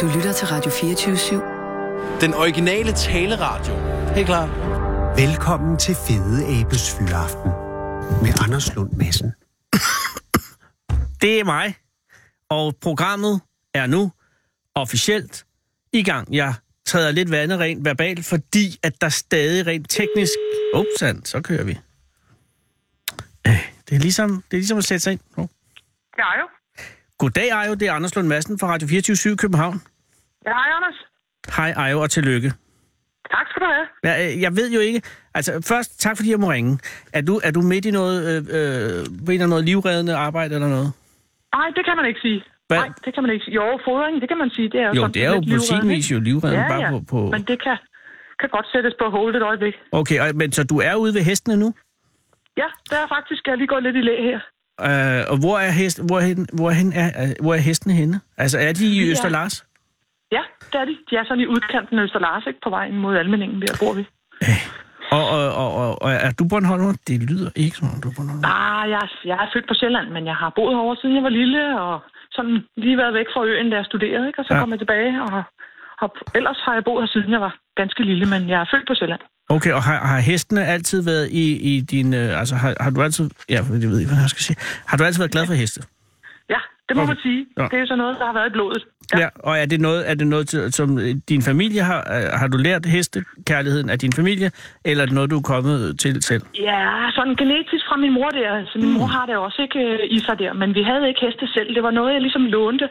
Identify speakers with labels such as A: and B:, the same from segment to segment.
A: Du lytter til Radio 24 /7.
B: Den originale taleradio. Helt klar.
C: Velkommen til Fede Abes Fyraften med Anders Lund Madsen.
D: Det er mig, og programmet er nu officielt i gang. Jeg træder lidt vandet rent verbalt, fordi at der stadig rent teknisk... Upsand, så kører vi. Øh, Det er ligesom, det er ligesom at sætte sig ind. Nå.
E: Ja, jo.
D: Goddag, Ejo. Det er Anders Lund Madsen fra Radio 24 København.
E: Ja, hej, Anders.
D: Hej, Ejo, og tillykke.
E: Tak skal du have.
D: Jeg, jeg ved jo ikke... Altså, først, tak fordi jeg må ringe. Er du, er du midt i noget, øh, øh, midt i noget livreddende arbejde eller noget?
E: Nej, det kan man ikke sige.
D: Hvad?
E: Nej, det kan man ikke sige. Jo, fodring, det kan man sige. Det er jo,
D: Jo,
E: sådan
D: det er jo
E: lidt
D: på sin
E: livreddende,
D: vis
E: ikke?
D: jo livreddende, bare på- på-
E: Men det kan, kan godt sættes på hold et øjeblik.
D: Okay, og, men så du er ude ved hestene nu?
E: Ja, der er faktisk, jeg er lige gået lidt i læ her.
D: Øh, og hvor er, hest, hvor, er hen, hvor, er hen, er, øh, hvor er hestene henne? Altså, er de i
E: er-
D: Øster Lars?
E: Ja, det er de. De er sådan i udkanten af Øster Lars, ikke? På vejen mod Almeningen, der bor vi.
D: Og, og, og, og, og er du Bornholmer? Det lyder ikke som om du er Bornholmer.
E: Ah, jeg, er- jeg er født på Sjælland, men jeg har boet herovre, siden jeg var lille, og sådan lige været væk fra øen, da jeg studerede, ikke? Og så
D: Ja.
E: ja. kom jeg tilbage, og, og ellers har jeg boet her, siden jeg var ganske lille, men jeg er født på Sjælland.
D: Okay, og har, har hestene altid været i, i din... Øh, altså, har, har du altid... Ja, for det ved jeg, hvad jeg skal sige. Har du altid været glad for heste?
E: Ja, det
D: Okay.
E: må okay. man sige.
D: Ja.
E: Ja. Det er jo sådan noget, der har været i blodet. Ja. ja.
D: Og er det noget, er det noget til- som øh, din familie har... øh, Har du lært hestekærligheden af din familie? Eller er det noget, du er kommet til selv?
E: Ja, sådan genetisk fra min mor der. Så min mor
D: Mm.
E: har det også ikke øh, i sig der, men vi havde ikke heste selv. Det var noget, jeg ligesom lånte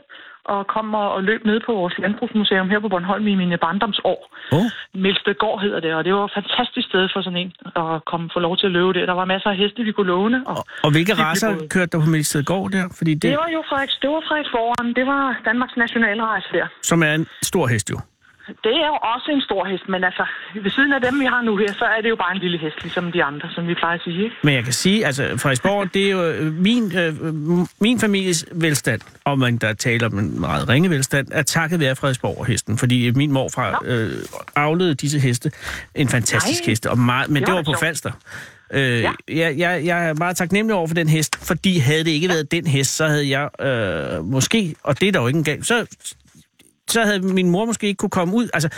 E: og kom og, og løb ned på vores landbrugsmuseum her på Bornholm i mine barndomsår.
D: Åh.
E: Melstedgård hedder det, og det var et fantastisk sted for sådan en at komme få lov til at løbe der. Der var masser af heste, vi kunne låne. Og,
D: Og hvilke
E: Det er
D: raser
E: både-
D: kørte der på Mælsted Gård der? Fordi det,
E: det var jo Frederik, det var Frederik Foran. Det var Danmarks nationalrejse der.
D: som er en stor hest jo.
E: Det er jo også en stor hest, men altså, ved siden af dem, vi har nu her, så er det jo bare en lille hest, ligesom de andre, som vi plejer at sige. Ikke?
D: Men jeg kan sige, altså Frederiksborg, det er jo øh, min, øh, m- min families velstand, og man der taler om en meget ringe velstand, er takket være Frederiksborg og hesten, fordi min morfar øh, aflede disse heste. En fantastisk
E: Nej.
D: heste, og meget, men det,
E: Det
D: det
E: var
D: var
E: da
D: på
E: sjovt.
D: Falster. Øh, ja.
E: Ja.
D: jeg, jeg, jeg er meget taknemmelig over for den hest, fordi havde det ikke været den hest, så havde jeg øh, måske, og det er der jo ikke engang, så, så havde min mor måske ikke kunne komme ud. Altså,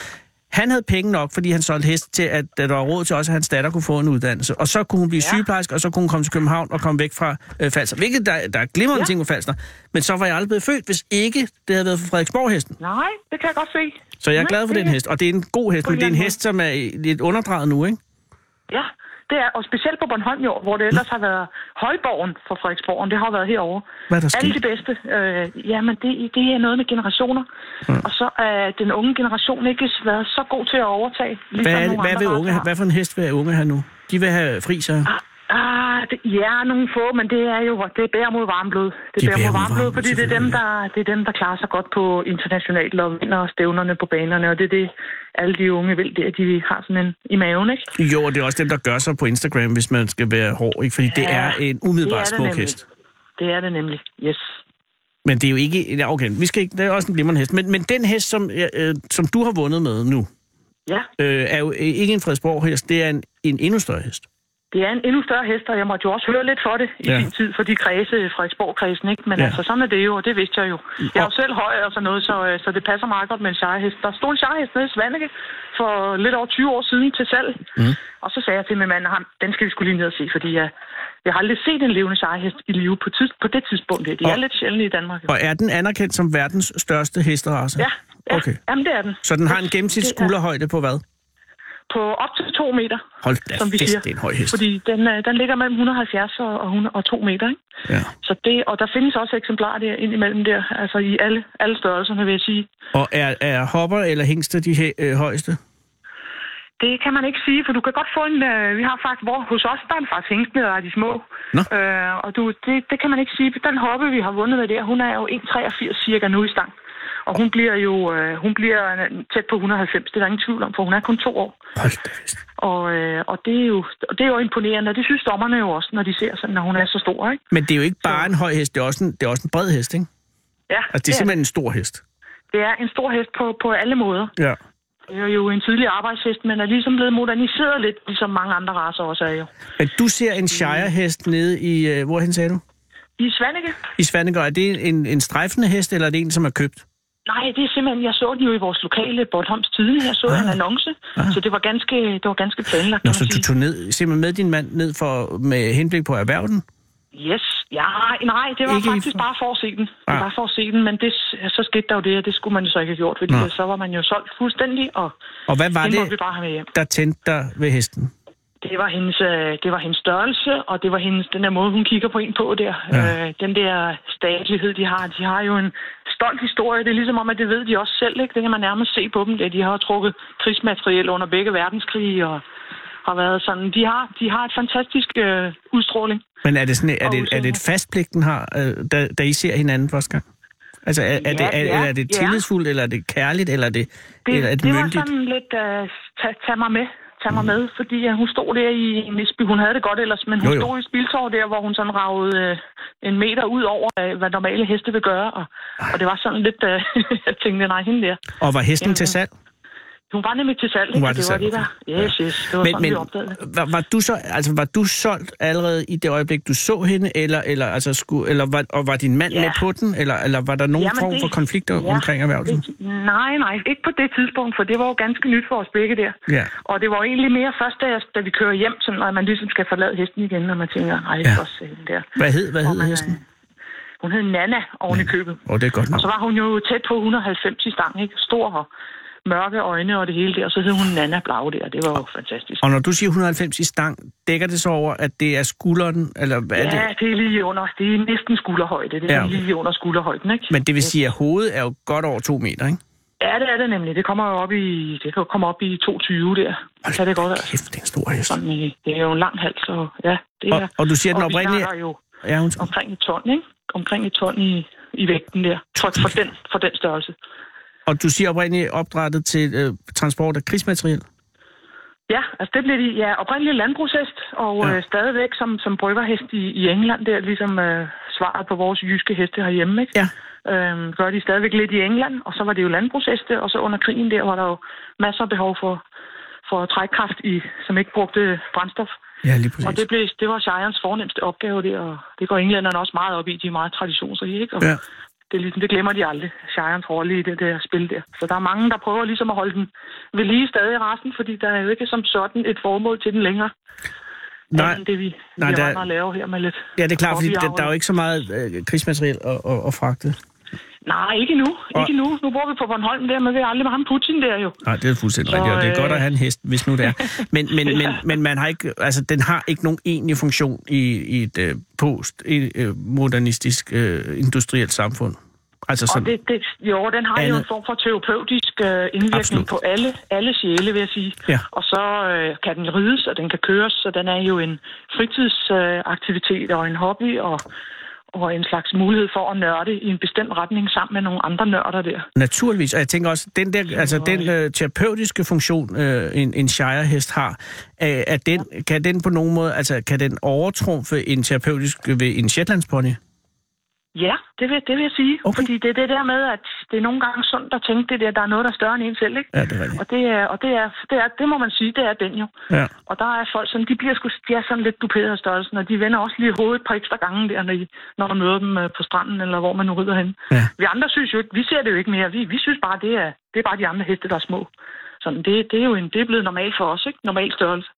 D: han havde penge nok, fordi han solgte hest til, at at der var råd til også, at hans datter kunne få en uddannelse. Og så kunne hun blive ja.
E: Ja.
D: sygeplejerske, og så kunne hun komme til København og komme væk fra øh, Falster. Hvilket der, der er glimrende ja.
E: Ja.
D: ting med Falster. Men så var jeg aldrig blevet født, hvis ikke det havde været for Frederiksborg-hesten.
E: Nej, det kan jeg godt se.
D: Så jeg er
E: Nej,
D: glad for
E: det-
D: den hest, og det er en god hest,
E: På en
D: men det er en
E: eller anden
D: hest, som er øh, lidt underdrejet nu, ikke?
E: Ja, det er, og specielt på Bornholm i år, hvor det ellers har været Højborgen for Frederiksborgen. Det har jo været herovre.
D: Hvad er der
E: Alle
D: sket?
E: de bedste. Øh, jamen, det, det er noget med generationer. Mm. Og så er den unge generation ikke været så god til at overtage. Ligesom
D: Hvad, er, det-
E: nogle
D: hvad,
E: andre
D: vil unge,
E: racer har.
D: have- hvad for en hest vil unge have nu? De vil have friser.
E: Ah, det, ja, nogle få, men det er jo det er bærer mod varmblod. Det
D: De
E: bærer mod
D: bærer mod
E: varmblod,
D: varmblod,
E: fordi det er, dem, der, det er dem, der klarer sig godt på internationalt og vinder stævnerne på banerne, og det er det, alle de unge vil, det er, at de har sådan en i maven, ikke?
D: Jo, og det er også dem, der gør sig på Instagram, hvis man skal være hård, ikke? Fordi det er en umiddelbart
E: det
D: smuk
E: nemlig.
D: hest.
E: Det er det nemlig, yes.
D: Men det er jo ikke... Ja, okay, vi skal ikke... Det er også en glimrende hest. Men, men den hest, som, øh, øh, som du har vundet med nu,
E: Ja,
D: øh, er jo øh, ikke en Fredsborg-hest, det er en, en endnu større hest.
E: det er en endnu større hest, og jeg måtte jo også høre lidt for det i
D: Ja.
E: sin tid, for de kredse, Frederiksborg-kredsen, ikke? Men
D: Ja.
E: ja. altså, sådan er det jo, og det vidste jeg jo. Jeg er jo selv høj og sådan noget, så, øh, så det passer meget godt med en charhest. Der stod en charhest nede i Svanike for lidt over 20 år siden til salg, mm. og så sagde jeg til min mand, ham, den skal vi skulle lige ned og se, fordi jeg, jeg har aldrig set en levende charhest i live på, tids, på det tidspunkt. her. De er
D: Og-
E: lidt sjældne i Danmark. jo.
D: Og er den anerkendt som verdens største hesterace?
E: Ja, ja.
D: Okay.
E: Jamen, det er den.
D: Så den har en
E: Det er-
D: gennemsnitsskulderhøjde på hvad?
E: på op til to meter,
D: Hold da
E: som vi
D: fest,
E: siger.
D: det er en høj hest.
E: Fordi den, øh, den ligger mellem 170 og, og, 100 og 2 meter, ikke?
D: Ja.
E: Så det, og der findes også eksemplarer der indimellem der, altså i alle, alle størrelserne, vil jeg sige.
D: Og er, er hopper eller hængster de he, øh, højeste?
E: Det kan man ikke sige, for du kan godt få en... Øh, vi har faktisk... Hvor, hos os, der er en faktisk hængstende, der er de små.
D: Nå.
E: Øh, og du, det, det kan man ikke sige. Den hoppe, vi har vundet med der, hun er jo 1,83 cirka nu i stang. Og hun bliver jo øh, hun bliver tæt på 190, det er der ingen tvivl om, for hun er kun to år.
D: Hold da fest.
E: Og, øh, og det, er jo, og det er jo imponerende, og det synes dommerne jo også, når de ser sådan, når hun er så stor, ikke?
D: Men det er jo ikke bare en høj hest, det er også en, det er også en bred hest, ikke?
E: Ja,
D: Altså, det er simpelthen en stor hest.
E: det er en stor hest på, på alle måder.
D: Ja.
E: Det er jo en tidlig arbejdshest, men er ligesom blevet moderniseret lidt, ligesom mange andre racer også er jo.
D: Men du ser en shire-hest nede i... Øh, hvorhen sagde du?
E: I Svanike,
D: I Svanegård. Er det en, en strejfende hest, eller er det en, som er købt?
E: Nej, det er simpelthen, jeg så den jo i vores lokale Bornholms Tidende. Jeg så
D: Ah.
E: ah. en annonce,
D: Ah.
E: ah. så det var ganske, det var ganske planlagt.
D: Nå,
E: kan
D: så
E: man
D: du
E: sige.
D: tog ned, simpelthen med din mand ned for, med henblik på at erhverve den?
E: Yes, ja, nej, det
D: Ikke
E: var ikke
D: i-
E: faktisk bare for at se den. Det var
D: Ah.
E: bare for at se den, men det, så skete der jo det, og det skulle man jo så ikke have gjort, fordi
D: Nå.
E: så var man jo solgt fuldstændig, og
D: Og hvad var
E: det måtte
D: det,
E: vi bare have med hjem.
D: der tændte dig ved hesten?
E: Det var, hendes, øh, det var hendes størrelse, og det var hendes, den der måde, hun kigger på en på der.
D: Ja.
E: Ja. Øh, den der statlighed, de har. De har jo en stolt historie. Det er ligesom om, at det ved de også selv. Ikke? Det kan man nærmest se på dem. Der. De har jo trukket krigsmateriel under begge verdenskrige og har været sådan. De har, de har et fantastisk øh, udstråling.
D: Men er det, sådan, er
E: Og
D: det, er det et
E: udseende.
D: fast pligt, den har, øh, da, da I ser hinanden første gang? Altså, er, er,
E: Ja,
D: det, er,
E: det er.
D: eller er det
E: Ja.
D: tillidsfuldt, eller er det kærligt, eller er det,
E: Det,
D: eller er det,
E: det var
D: myndigt? Mm.
E: sådan lidt, øh, tag, tag mig med. Tag mig med, fordi øh, hun stod der i en Visby. Hun havde det godt ellers, men hun
D: Jo,
E: jo,
D: jo.
E: jo. stod i spiltår der, hvor hun sådan ragede øh, en meter ud over, øh, hvad normale heste vil gøre. Og,
D: Ah.
E: og det var sådan lidt, øh, jeg tænkte, nej, hende der.
D: Og var hesten
E: Jamen,
D: til salg?
E: Hun var nemlig til salg,
D: Hun
E: ikke?
D: var
E: Og
D: til
E: det var
D: salg,
E: det der. Yes, yes, det var
D: Men,
E: sådan,
D: men
E: vi opdagede det.
D: var, var, du så, altså, var du solgt allerede i det øjeblik, du så hende, eller, eller, altså, skulle, eller var, og var din mand
E: Ja.
D: med på den, eller, eller var der nogen
E: Jamen,
D: form
E: det-
D: for konflikter
E: ja,
D: omkring erhvervelsen?
E: det- Nej, nej, ikke på det tidspunkt, for det var jo ganske nyt for os begge der.
D: Ja.
E: Og det var jo egentlig mere først, da, jeg- da vi kører hjem, sådan, når man ligesom skal forlade hesten igen, når man tænker, nej, det
D: Ja.
E: er også hende der.
D: Hvad hed, hvad
E: Hvor
D: hed
E: man,
D: hesten?
E: øh, Hun hed Nana oven i købet.
D: Åh, oh, det er godt
E: Og
D: nok.
E: så var hun jo tæt på 190 i stang, ikke? Stor og mørke øjne og det hele der. Og så hed hun Nana Blau der. Det var jo fantastisk.
D: Og når du siger 190 i stang, dækker det så over, at det er skulderen, eller hvad er
E: Ja,
D: det?
E: det er lige under. Det er næsten skulderhøjde. Det
D: Ja,
E: er ja,
D: okay.
E: okay. lige under skulderhøjden, ikke?
D: Men det vil sige, at hovedet er jo godt over to meter, ikke?
E: Ja, det er det nemlig. Det kommer jo op i, det kan jo komme op i 22 der.
D: Hold
E: Kan det godt være.
D: Kæft, det er en stor hest.
E: Sådan, øh, Det er jo en lang hals, og ja, det er...
D: Og, og du siger den
E: og vi
D: oprindelige...
E: snakker jo
D: Ja, undskyld.
E: omkring et ton, ikke? Omkring et ton i, i vægten der. For, for, den, for den størrelse.
D: Og du siger oprindeligt opdrettet til øh, transport af krigsmateriel?
E: Ja, altså det blev de ja, oprindeligt landbrugshest, og
D: Ja.
E: ja. øh, stadigvæk som, som bryggerhest i, i England, der ligesom øh, svaret på vores jyske heste herhjemme, ikke?
D: Ja.
E: Øhm, gør de stadigvæk lidt i England, og så var det jo landbrugsheste, og så under krigen der var der jo masser af behov for, for trækkraft, i, som ikke brugte brændstof.
D: Ja, lige
E: Og det, blev, det var Shirens fornemmeste opgave, det, og det går englænderne også meget op i. De er meget traditionsrige, ikke? Og
D: Ja.
E: det, er ligesom, det glemmer de aldrig, Shirens rolle i det der spil der. Så der er mange, der prøver ligesom at holde den ved lige stadig i resten, fordi der er jo ikke som sådan et formål til den længere.
D: Nej,
E: andet end det vi,
D: Nej,
E: Nej, vi
D: der-
E: der... render og laver her med lidt.
D: ja, det er klart, fordi
E: hobbyavl.
D: der, der er jo ikke så meget øh, krigsmateriel at, at, at fragte.
E: Nej, ikke nu.
D: Og-
E: Ikke nu. Nu bor vi på Bornholm der, men vi er aldrig med ham Putin der jo.
D: Nej, det er fuldstændig
E: Så,
D: rigtigt, og det er godt
E: øh,
D: at have en hest, hvis nu det er. Men, men, men, men man har ikke, altså, den har ikke nogen egentlig funktion i, i et øh, post-modernistisk øh, industrielt samfund. Altså
E: Og
D: sådan,
E: det, det, jo, den har jo
D: Andet-
E: en form for terapeutisk øh, indvirkning
D: Absolut.
E: Absolut. på alle, alle sjæle, vil jeg sige.
D: Ja.
E: Og så øh, kan den rides, og den kan køres, så den er jo en fritidsaktivitet øh, aktivitet og en hobby, og, og en slags mulighed for at nørde i en bestemt retning sammen med nogle andre nørder der.
D: Naturligvis, og jeg tænker også, den der, altså den øh, terapeutiske funktion, øh, en, en shirehest har, øh, at den, kan den på nogen måde, altså kan den overtrumfe en terapeutisk ved en shetlandspony?
E: Ja, det vil, det vil jeg sige.
D: Okay.
E: Okay. Fordi det er det der med, at det er nogle gange sundt at tænke det der, der er noget, der er større end en selv, ikke?
D: Ja, det er rigtigt.
E: Og, det, er, og det, er, det, er, det må man sige, det er den jo.
D: Ja.
E: Og der er folk, som de bliver sgu, de er sådan lidt duperet af størrelsen, og de vender også lige hovedet et par ekstra gange der, når, I, når man møder dem øh, på stranden, eller hvor man nu rider hen.
D: Ja.
E: Vi andre synes jo ikke, vi ser det jo ikke mere. Vi, vi synes bare, det er, det er bare de andre heste, der er små. Sådan, det, det er jo en, det er blevet normalt for os, ikke? Normal størrelse.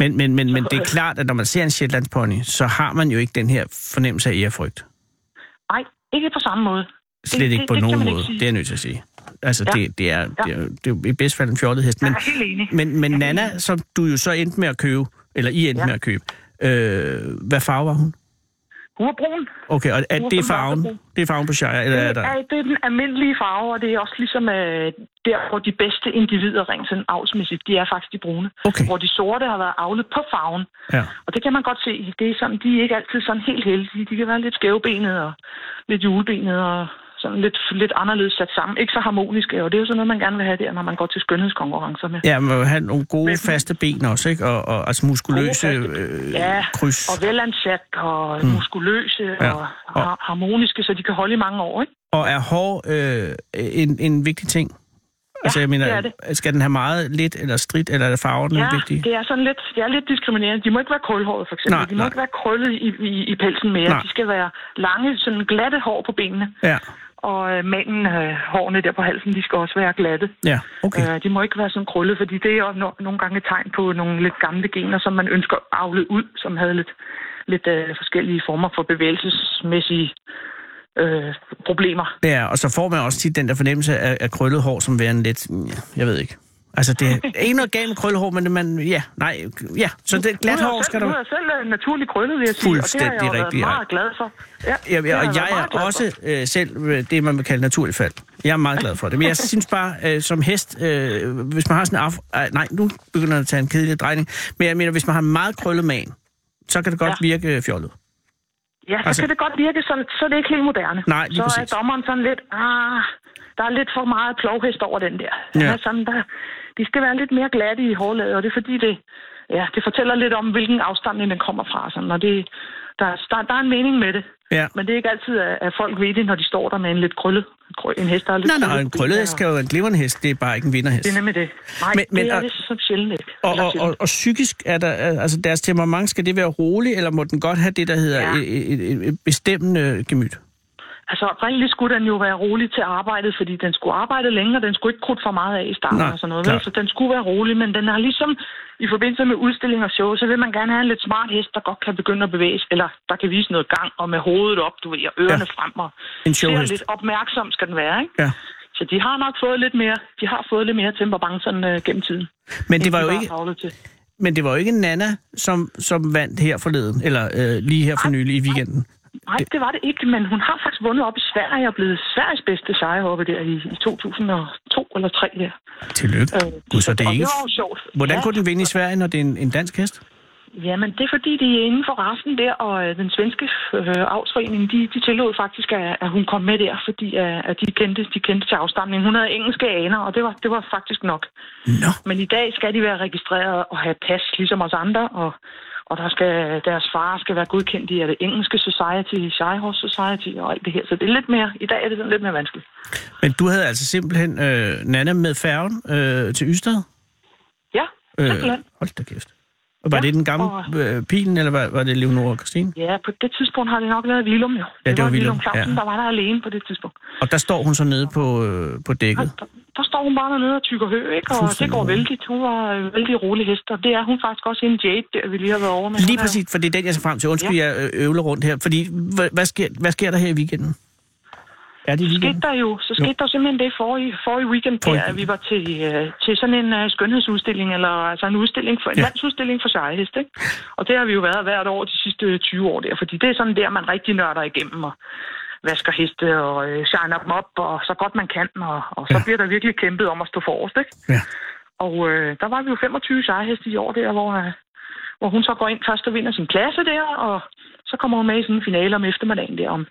D: Men, men, men, men det er klart, at når man ser en shetlandspony, så har man jo ikke den her fornemmelse af ærefrygt.
E: Nej, ikke på samme måde.
D: Slet ikke på
E: det kan
D: nogen
E: man ikke
D: måde,
E: sige.
D: det er jeg nødt til at sige. Altså,
E: Ja.
D: det, det, er, det, er, det er jo i bedst fald en fjollet hest.
E: Men,
D: Men,
E: jeg er helt enig.
D: men, men Nana, som du jo så endte med at købe, eller I endte
E: Ja.
D: med at købe, øh, hvad farve var hun?
E: Hun er brun.
D: Okay, og er
E: Hvorfor
D: det
E: den
D: er farven?
E: mørkebrun?
D: Det er farven på Shire, eller er
E: Det
D: der?
E: er, det er den almindelige farve, og det er også ligesom øh, der, hvor de bedste individer rent sådan avlsmæssigt, de er faktisk de brune.
D: Okay.
E: Hvor de sorte har været avlet på farven.
D: Ja.
E: Og det kan man godt se. Det er sådan, de er ikke altid sådan helt heldige. De kan være lidt skævebenede og lidt julebenede og sådan lidt, lidt anderledes sat sammen. Ikke så harmoniske, og det er jo sådan noget, man gerne vil have der, når man går til skønhedskonkurrencer med.
D: Ja, man vil have nogle gode
E: Men-
D: faste ben også, ikke? Og, og altså muskuløse
E: Gode faste
D: øh,
E: Ja,
D: kryds.
E: og velansat og mm. muskuløse
D: Ja,
E: ja. og
D: og-
E: har- harmoniske, så de kan holde i mange år, ikke?
D: Og er hår øh, en, en vigtig ting? altså, jeg mener,
E: det er det.
D: skal den have meget lidt eller stridt, eller er farven
E: Ja,
D: vigtig?
E: det er sådan lidt, det er lidt diskriminerende. De må ikke være krølhåret, for eksempel.
D: Nej,
E: Nej, de må
D: nej.
E: nej. ikke være krøllet i, i, i pelsen mere.
D: Nej.
E: Nej. De skal være lange, sådan glatte hår på benene.
D: Ja.
E: Og øh, manden, øh, hårene der på halsen, de skal også være glatte.
D: Ja, okay.
E: Øh, de må ikke være sådan krøllet, fordi det er også no- nogle gange et tegn på nogle lidt gamle gener, som man ønsker avlet ud, som havde lidt, lidt øh, forskellige former for bevægelsesmæssige øh, problemer.
D: Ja, og så får man også tit den der fornemmelse af, af krøllet hår, som værende lidt, mm, ja, jeg ved ikke. Altså, det er ikke noget galt med krøllehår, men det- man, ja, nej, ja. Så det glat
E: Nu er jeg
D: hår
E: selv-
D: skal
E: Nu
D: der...
E: er jeg selv øh, naturlig krøllet, vil jeg sige, og det har
D: Fuldstændig
E: jeg jo
D: rigtig, ja.
E: været meget glad for. Ja,
D: Ja,
E: det har
D: og
E: været
D: jeg
E: meget
D: er
E: glad for.
D: også øh, selv øh, det, man vil kalde naturlig fald. Jeg er meget glad for det. Men jeg synes bare, øh, som hest, øh, hvis man har sådan en af... Ej, nej, nu begynder jeg at tage en kedelig drejning. Men jeg mener, hvis man har en meget krøllet man, så kan det godt ja. virke øh, fjollet.
E: Ja, så
D: Altså-
E: altså, kan det godt virke sådan, så er det ikke helt moderne.
D: Nej, lige
E: så
D: præcis.
E: er dommeren sådan lidt, ah, der er lidt for meget plovhest over den der.
D: Ja.
E: Ja. Er sådan, der, de skal være lidt mere glatte i hårlaget, og det er fordi, det, ja, det fortæller lidt om, hvilken afstamning den kommer fra. Sådan, og det, der, er- der, der er en mening med det.
D: Ja.
E: Men det er ikke altid, at at folk ved det, når de står der med en lidt krøllet, krø- en hest, der er lidt
D: Nej, nej, en krøllet hest skal jo være en glimrende hest, det er bare ikke en vinderhest.
E: Det er nemlig det. Nej,
D: Men-
E: men,
D: men-
E: det er
D: og-
E: det som sjældent ikke.
D: Og,
E: Eller
D: og,
E: sjældent.
D: og, og psykisk, er der, altså deres temperament, skal det være roligt, eller må den godt have det, der hedder ja.
E: Ja.
D: et, et, et, et bestemmende gemyt?
E: Altså oprindeligt skulle den jo være rolig til arbejdet, fordi den skulle arbejde længe, og den skulle ikke krudt for meget af i starten
D: Nej,
E: og sådan noget.
D: klart.
E: Vel? Så den skulle være rolig, men den har ligesom i forbindelse med udstilling og show, så vil man gerne have en lidt smart hest, der godt kan begynde at bevæge sig, eller der kan vise noget gang, og med hovedet op, du ved, og ørerne
D: Ja.
E: ja. frem, og
D: En
E: ser
D: showhest.
E: lidt opmærksom skal den være, ikke?
D: Ja.
E: Så de har nok fået lidt mere, de har fået lidt mere temperament sådan, øh, gennem tiden.
D: Men det, var
E: end
D: jo
E: de
D: ikke,
E: travlet til.
D: men det var jo ikke Nana, som, som vandt her forleden, eller øh, lige her for nylig i weekenden.
E: Nej, det var det ikke, men hun har faktisk vundet op i Sverige og blevet Sveriges bedste sejrhoppe der i, i 2002 eller 3 der.
D: Tillykke.
E: Øh,
D: Gud, så det er
E: og
D: ikke...
E: det var jo sjovt.
D: Hvordan
E: ja.
D: kunne den vinde i Sverige, når det er en, en dansk hest?
E: Jamen, det er fordi, de er inden for resten der, og øh, den svenske øh, avlsforening, de, de tillod faktisk, at, at hun kom med der, fordi øh, at de, kendte, de kendte til afstamningen. Hun havde engelske aner, og det var, det var faktisk nok.
D: Nå.
E: Men i dag skal de være registreret og have pas, ligesom os andre, og, og der skal, deres far skal være godkendt i er det engelske society, Shire Society og alt det her. Så det er lidt mere, i dag er det sådan lidt mere vanskeligt.
D: Men du havde altså simpelthen øh, Nana med færgen øh, til Ystad?
E: Ja,
D: Øh.
E: simpelthen.
D: hold da kæft. Og var ja,
E: Ja,
D: det den gamle
E: og-
D: øh, pilen, eller var, var det Leonora og Christine?
E: Ja, på det tidspunkt har det nok været Vilum, jo.
D: Ja, det var Willum,
E: Clausen,
D: ja.
E: der var der alene på det tidspunkt.
D: Og der står hun så nede på, øh, på dækket.
E: Altså, Der, der står hun bare dernede og tykker hø, ikke? Og det
D: Fuldstændig
E: går
D: roligt.
E: vældigt. Hun var øh, vældig rolig hest, og det er hun faktisk også en Jade, der vi lige har været over med.
D: Lige
E: Hun er-
D: præcis, for det er den, jeg ser frem til. Undskyld, ja. jeg øh, øvler rundt her. Fordi, hvad, hvad, sker, hvad sker der her i weekenden? Er det i
E: Så skete
D: weekenden?
E: der jo, så skete der jo simpelthen det forrige, forrige weekend,
D: Forrige
E: der, at vi var til, øh, til sådan en øh, skønhedsudstilling, eller altså en udstilling for, en
D: Ja.
E: ja. landsudstilling for sejhest, ikke? Og det har vi jo været hvert år de sidste 20 år der, fordi det er sådan der, man rigtig nørder igennem og vasker heste og øh, shiner dem op, og så godt man kan, og, og så
D: Ja.
E: ja. bliver der virkelig kæmpet om at stå forrest, ikke?
D: Ja.
E: Og øh, der var vi jo 25 sejheste i år der, hvor, øh, hvor hun så går ind først og vinder sin klasse der, og så kommer hun med i sådan en finale om eftermiddagen der om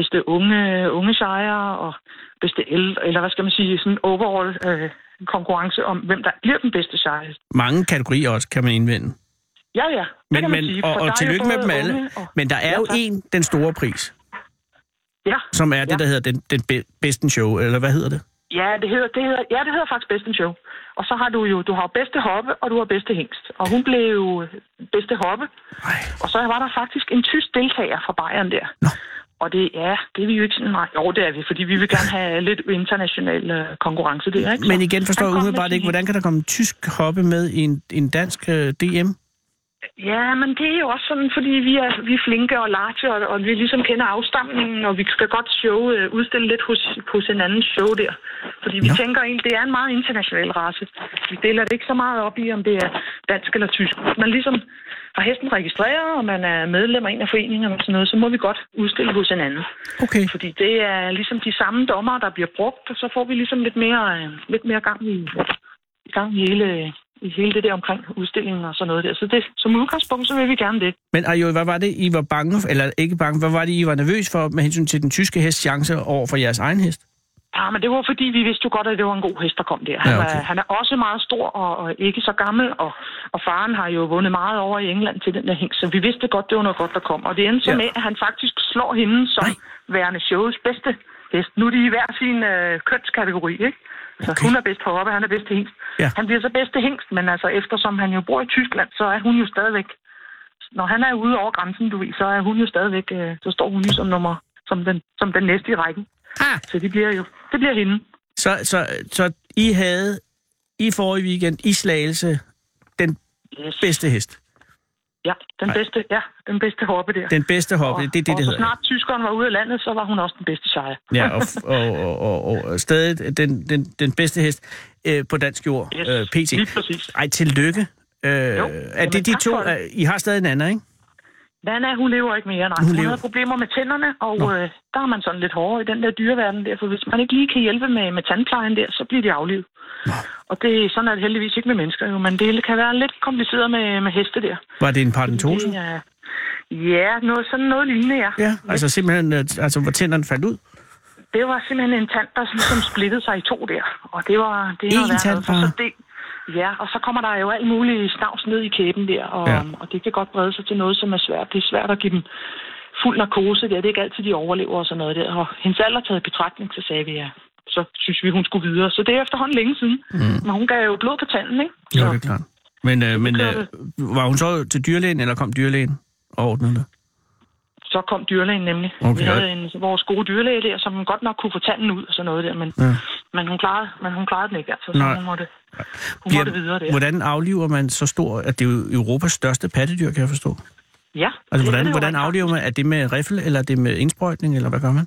E: bedste unge, unge sejre og bedste ældre, eller hvad skal man sige, sådan en overall øh, konkurrence om, hvem der bliver den bedste sejrhest.
D: Mange kategorier også, kan man indvende.
E: Ja, ja. det
D: Men,
E: kan man
D: men,
E: sige,
D: og,
E: for der er
D: og
E: jo
D: tillykke med
E: både
D: dem alle.
E: unge og-
D: Men der er
E: Ja,
D: jo
E: tak.
D: en, den store pris,
E: Ja,
D: som er det,
E: Ja.
D: der hedder den, den be- bedste show, eller hvad hedder det?
E: ja, det hedder, det hedder, ja, det hedder faktisk bedste show. Og så har du jo, du har jo bedste hoppe, og du har bedste hingst. Og hun blev jo øh, bedste hoppe,
D: Ej.
E: Og så var der faktisk en tysk deltager fra Bayern der.
D: Nå.
E: Og det, ja, det er vi jo ikke sådan, nej, jo, det er vi, fordi vi vil gerne have lidt international øh, konkurrence der, ikke?
D: Men
E: Så
D: igen forstår
E: han
D: jeg
E: kom med
D: umiddelbart
E: sin-
D: ikke, hvordan kan der komme en tysk hoppe med i en, en dansk øh, DM?
E: Ja, men det er jo også sådan, fordi vi er, vi er flinke og large, og, og vi ligesom kender afstamningen, og vi skal godt show, øh, udstille lidt hos, hos en anden show der. Fordi vi
D: Nå.
E: Nå. tænker egentlig, det er en meget international race. Vi deler det ikke så meget op i, om det er dansk eller tysk. Hvis man ligesom har hesten registreret, og man er medlem af en af foreningerne og sådan noget, så må vi godt udstille hos en anden.
D: Okay.
E: Fordi det er ligesom de samme dommer, der bliver brugt, og så får vi ligesom lidt mere, øh, lidt mere gang i, i gang i hele, i hele det der omkring udstillingen og sådan noget der. Så det, som udgangspunkt, så vil vi gerne det.
D: Men Ajo, hvad var det, I var bange for, eller ikke bange, hvad var det, I var nervøs for med hensyn til den tyske hests chance over for jeres egen hest?
E: Ja, men det var fordi, vi vidste jo godt, at det var en god hest, der kom der. Han,
D: Ja,
E: ja,
D: okay.
E: okay. han er også meget stor og, og ikke så gammel, og, og faren har jo vundet meget over i England til den der hæng, så vi vidste godt, det var noget godt, der kom. Og det endte så
D: Ja.
E: ja. med, at han faktisk slår hende som
D: Nej.
E: værende shows bedste hest. Nu er de i hver sin øh, kønskategori, ikke?
D: Okay.
E: Så okay. hun er bedst på hoppe, han er bedst til hængst.
D: Ja.
E: Han bliver så bedst til hængst, men altså eftersom han jo bor i Tyskland, så er hun jo stadigvæk... Når han er ligesom ude over grænsen, du ved, så er hun jo stadigvæk... Øh, så står hun jo som nummer... Som den, som den næste i rækken.
D: Ah,
E: Så det bliver jo, det bliver hende.
D: så, så, så I havde i forrige weekend i Slagelse den
E: Yes.
D: bedste hest.
E: Ja, den bedste, ja, den bedste hoppe der.
D: Den bedste hoppe, det er det, det
E: og så
D: hedder.
E: snart tyskeren var ude af landet, så var hun også den bedste sejr.
D: Ja, og, f- og, og, og, og, og stadig den, den, den bedste hest øh, på dansk jord,
E: Yes,
D: øh, PT.
E: lige præcis.
D: Ej, tillykke. Øh,
E: Jo,
D: er
E: jamen,
D: det de
E: tak
D: to?
E: for det.
D: øh, I har stadig en anden, ikke?
E: Nana, hun lever ikke mere, nej.
D: Hun
E: Hun, hun
D: lever-
E: havde problemer med tænderne, og øh, der er man sådan lidt hårdere i den der dyreverden der, for hvis man ikke lige kan hjælpe med, med tandplejen der, så bliver de aflivet. Og det, sådan er det heldigvis ikke med mennesker jo, men det kan være lidt kompliceret med, med heste der.
D: Var det en paradentose?
E: Det er- Ja, noget, sådan noget lignende, ja.
D: Ja, altså simpelthen, øh, altså hvor tænderne faldt ud.
E: Det var simpelthen en tand, der ligesom splittede sig i to der. Og det var... Det er
D: En
E: noget værre
D: tand
E: noget. Og så
D: bare?
E: det, Ja, og så kommer der jo alt muligt snavs ned i kæben der, og,
D: Ja.
E: ja. og det kan godt brede sig til noget, som er svært. Det er svært at give dem fuld narkose der. Det er ikke altid, de overlever og sådan noget der. Og hendes alder taget i betragtning, så sagde vi, ja, så synes vi, hun skulle videre. Så det er efterhånden længe siden. Mm. Men hun gav jo blod på tanden, ikke?
D: Jo,
E: så,
D: det er klart. Men, øh, men
E: kører
D: øh, var hun så til dyrlægen, eller kom dyrlægen og ordnede det?
E: så kom dyrlægen nemlig.
D: Okay.
E: Okay. Vi havde en, vores gode dyrlæge der, som godt nok kunne få tanden ud og sådan noget der, men,
D: Ja.
E: ja. men, hun, klarede, men hun klarede den ikke, altså.
D: Nej.
E: Så hun måtte, hun måtte videre der.
D: Hvordan afliver man så stor, at det er jo Europas største pattedyr, kan jeg forstå?
E: Ja.
D: Altså,
E: det er
D: hvordan,
E: det jo
D: hvordan
E: rent faktisk.
D: afliver man? Er det med riffel, eller er det med indsprøjtning, eller hvad gør man?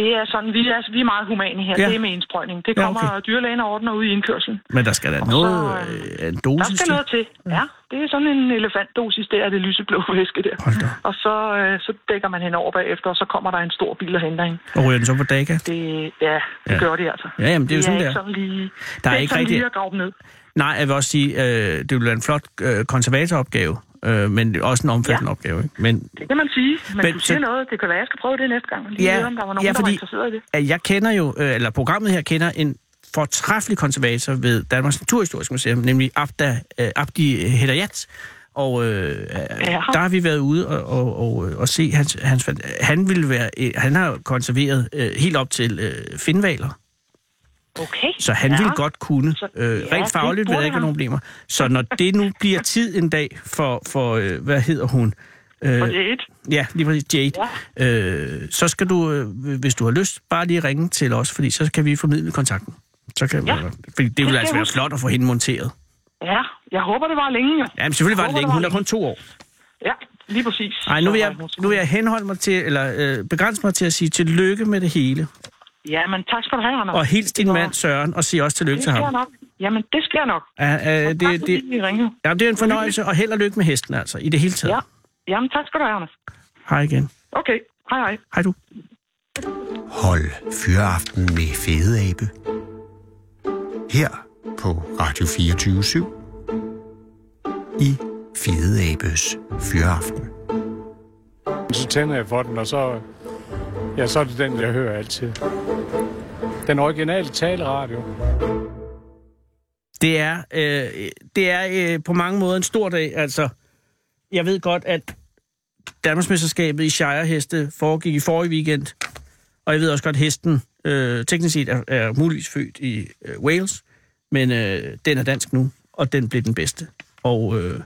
E: Det er sådan, vi er, vi er meget humane her.
D: Ja.
E: Ja. Det er med indsprøjtning. Det
D: Ja,
E: kommer
D: okay.
E: okay. dyrlægen og ordner ude i indkørselen.
D: Men der skal da noget,
E: øh,
D: øh, en
E: Der
D: dosis
E: skal
D: til.
E: noget til. Ja, det er sådan en elefantdosis der, af det lyseblå væske der.
D: Hold da.
E: Og så, øh, så dækker man hende over bagefter, og så kommer der en stor bil og henter hende.
D: Og ryger den så på dækket?
E: Det, ja, det
D: Ja.
E: ja. gør det altså.
D: Ja, jamen, det er jo sådan, det
E: ikke
D: er.
E: Sådan lige,
D: Der er
E: det
D: ikke
E: sådan
D: rigtig-
E: lige at grave dem ned.
D: Nej, jeg vil også sige, øh, det ville være en flot øh, konservatoropgave, øh, men også en omfattende ja.
E: Ja.
D: opgave. Ikke? Men
E: Det kan man sige. Men,
D: Men
E: men du siger
D: så-
E: noget. Det kan være, jeg skal prøve det næste gang. Lige
D: Ja,
E: ja. høre, om der var nogen,
D: ja,
E: ja, fordi... der
D: fordi-
E: var interesseret i det.
D: at jeg kender jo, øh, eller programmet her kender en fortræffelig konservator ved Danmarks Naturhistoriske Museum, nemlig Abda, øh, Abdi Hedayat. Og øh, øh, der har vi været ude og, og, og, øh, og se hans, hans... fant- Han, ville være, øh, han har jo konserveret øh, helt op til øh, finvaler,
E: Okay.
D: så han ja. ville godt kunne.
E: Så-
D: Øh,
E: ja,
D: rent fagligt vil
E: det
D: der
E: burde
D: ikke være
E: han.
D: nogen problemer. Så når det nu bliver tid en dag for, for øh, hvad hedder hun? Øh,
E: Og det er et.
D: Ja, lige præcis, Jade. Ja. Øh, så skal du, øh, hvis du har lyst, bare lige ringe til os, fordi så kan vi formidle kontakten. Så kan
E: Ja.
D: ja. fordi det vil
E: skal
D: altså
E: jeg
D: være
E: huske.
D: flot at få hende monteret.
E: Ja, jeg håber, det var længe. jo.
D: Jamen selvfølgelig var det
E: Håber,
D: længe, hun er
E: længe.
D: kun to år.
E: Ja, lige præcis.
D: Nej, nu
E: Så
D: vil jeg,
E: var hun sgu-
D: nu vil jeg henholde mig til, eller øh, begrænse mig til at sige tillykke med det hele.
E: Ja, men tak skal du have, Anders.
D: Og hils din
E: Det var-
D: mand Søren, og sig også tillykke
E: Det
D: til
E: sker
D: ham.
E: nok. Jamen, det sker nok.
D: Ja, øh,
E: tak, fordi
D: det, det,
E: I ringede.
D: ja, det er en fornøjelse, og held og lykke med hesten altså, i det hele taget.
E: Ja. Jamen, tak skal du have, Anders.
D: Hej igen.
E: Okay, hej hej.
D: Hej du.
C: Hold Fyraften med Fede Abe. Her på Radio 24 i Fede Abes Fyraften.
A: Så tænder jeg for den, og så, ja, så er det den, jeg hører altid. Den originale taleradio.
D: Det er, øh, det er øh, på mange måder en stor dag. Altså, jeg ved godt, at Danmarksmesterskabet i Shireheste foregik i forrige weekend. Og jeg ved også godt, at hesten øh, teknisk set er, er muligvis født i øh, Wales. Men øh, den er dansk nu, og den blev den bedste. Og øh,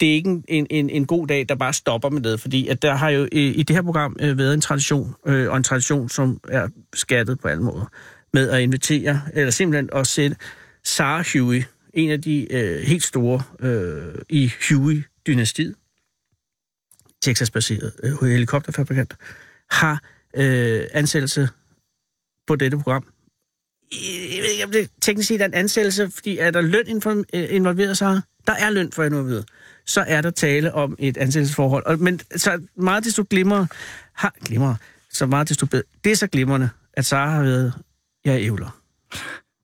D: det er ikke en, en, en, en god dag, der bare stopper med det. Fordi at der har jo i, i det her program øh, været en tradition, øh, og en tradition, som er skattet på alle måder, med at invitere, eller simpelthen at sætte Sarah Huey, en af de øh, helt store øh, i Huey-dynastiet, Texas-baseret øh, helikopterfabrikant, har øh, ansættelse på dette program. Jeg ved ikke, om det teknisk set er en ansættelse, fordi er der løn infor- øh, involveret, så der er løn for involveret, så er der tale om et ansættelsesforhold. Og, men så meget desto glimmer, har, glimmer, så meget desto bedre. Det er så glimrende, at Sara har været, jeg er ævler.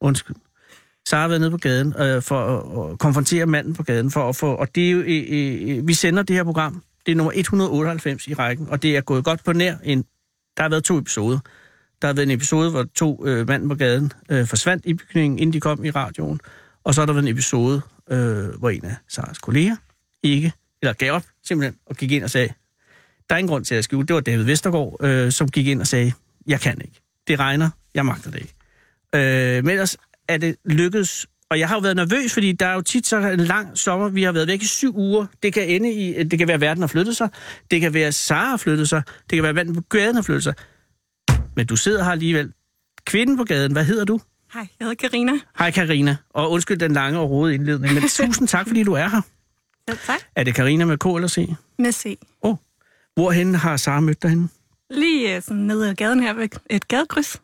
D: Undskyld. Sara har været nede på gaden øh, for at, at konfrontere manden på gaden. For at få, og det er jo, øh, øh, vi sender det her program. Det er nummer 198 i rækken, og det er gået godt på nær en... Der har været to episoder. Der har været en episode, hvor to øh, mænd på gaden øh, forsvandt i bygningen, inden de kom i radioen. Og så har der været en episode, øh, hvor en af Saras kolleger ikke, eller gav op simpelthen, og gik ind og sagde, der er ingen grund til at skjule. Det var David Vestergaard, øh, som gik ind og sagde, jeg kan ikke. Det regner, jeg magter det ikke. Øh, men ellers er det lykkedes, og jeg har jo været nervøs, fordi der er jo tit så en lang sommer, vi har været væk i syv uger. Det kan ende i, det kan være, at verden har flyttet sig, det kan være, at Sara har flyttet sig, det kan være, at verden på gaden har flyttet sig. Men du sidder her alligevel. Kvinden på gaden, hvad hedder du?
F: Hej, jeg hedder Karina.
D: Hej Karina, og undskyld den lange og rodede indledning, men tusind tak, fordi du er her.
F: Ja, tak.
D: Er det Karina med K eller C?
F: Med C.
D: Åh, oh. hvorhen har Sara mødt dig henne?
F: Lige øh, sådan nede ad gaden her ved et gadekryds.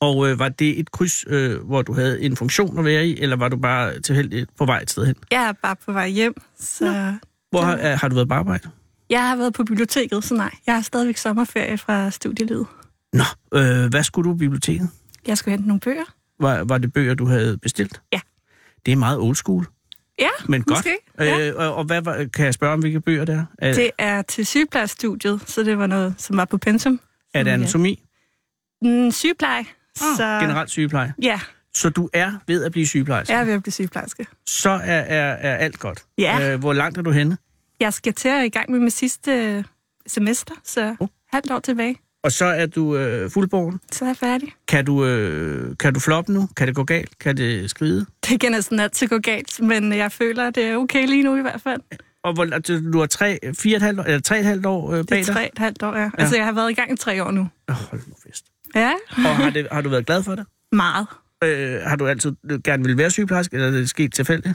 D: Og øh, var det et kryds, øh, hvor du havde en funktion at være i, eller var du bare tilfældigt på vej et sted hen?
F: Jeg er bare på vej hjem, så
D: Hvor har, øh, har du været på arbejde?
F: jeg har været på biblioteket, så nej. Jeg har stadigvæk sommerferie fra studielivet.
D: Nå, øh, hvad skulle du i biblioteket?
F: Jeg skulle hente nogle bøger.
D: Var, var det bøger, du havde bestilt?
F: Ja.
D: Det er meget old school,
F: Ja,
D: men godt.
F: måske. Ja.
D: Øh, og, og hvad var, kan jeg spørge om, hvilke bøger det er? Er det,
F: Det er til sygeplejestudiet, så det var noget, som var på pensum.
D: er det
F: ja.
D: anatomi?
F: Mm, sygepleje. så
D: Generelt sygepleje?
F: Ja,
D: Så du er ved at blive sygeplejerske?
F: jeg er ved at blive sygeplejerske.
D: Så er, er, er alt godt?
F: Ja.
D: Øh, hvor langt er du henne?
F: Jeg skal til at i gang med mit sidste øh, semester, så
D: Oh.
F: halvt år tilbage,
D: Og så er du øh, fuldborn.
F: så er jeg færdig.
D: Kan du, øh, kan du floppe nu? Kan det gå galt? Kan det skride?
F: Det kan næsten altid gå galt, men jeg føler, at det er okay lige nu i hvert fald.
D: Og hvor, altså, du har tre, fire og et halvt, år- eller tre og et halvt år øh, bag
F: Det er tre
D: dig?
F: et halvt år, ja. ja. Altså, jeg har været i gang i tre år nu.
D: Oh, hold nu fest.
F: Ja,
D: Og har, det, har du været glad for det?
F: meget.
D: Øh, har du altid øh, gerne ville være sygeplejerske, eller er det sket tilfældigt?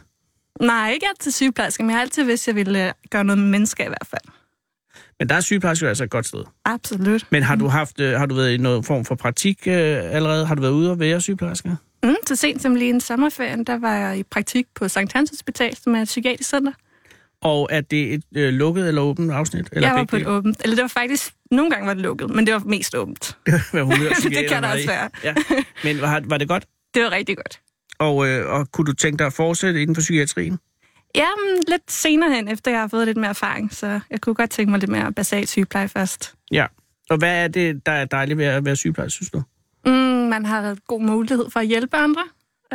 F: Nej, ikke altid sygeplejerske, men jeg har altid vidst, at jeg ville øh, gøre noget med mennesker i hvert fald.
D: Men der er sygeplejerske jo altså et godt sted.
F: Absolut.
D: Men har du, haft, øh, har du været i noget form for praktik øh, allerede? Har du været ude og være sygeplejerske?
F: Mm, så sent som lige en sommerferien, der var jeg i praktik på Sankt Hans Hospital, som er et psykiatrisk center.
D: Og er det et øh, lukket eller åbent afsnit? Eller
F: Eller jeg var
D: begge
F: på et
D: dele?
F: åbent. Eller det var faktisk, nogle gange var det lukket, men det var mest åbent.
D: Hvad humør psykiateren
F: kan der
D: var
F: også
D: i.
F: være.
D: Ja. Men var, var det godt?
F: Det var rigtig godt.
D: Og, øh, og kunne du tænke dig at fortsætte inden for psykiatrien?
F: Jamen, lidt senere hen, efter jeg har fået lidt mere erfaring, så jeg kunne godt tænke mig lidt mere basalt sygepleje først.
D: Ja. Og hvad er det, der er dejligt ved at være sygeplejerske, synes du?
F: Mm, man har god mulighed for at hjælpe andre.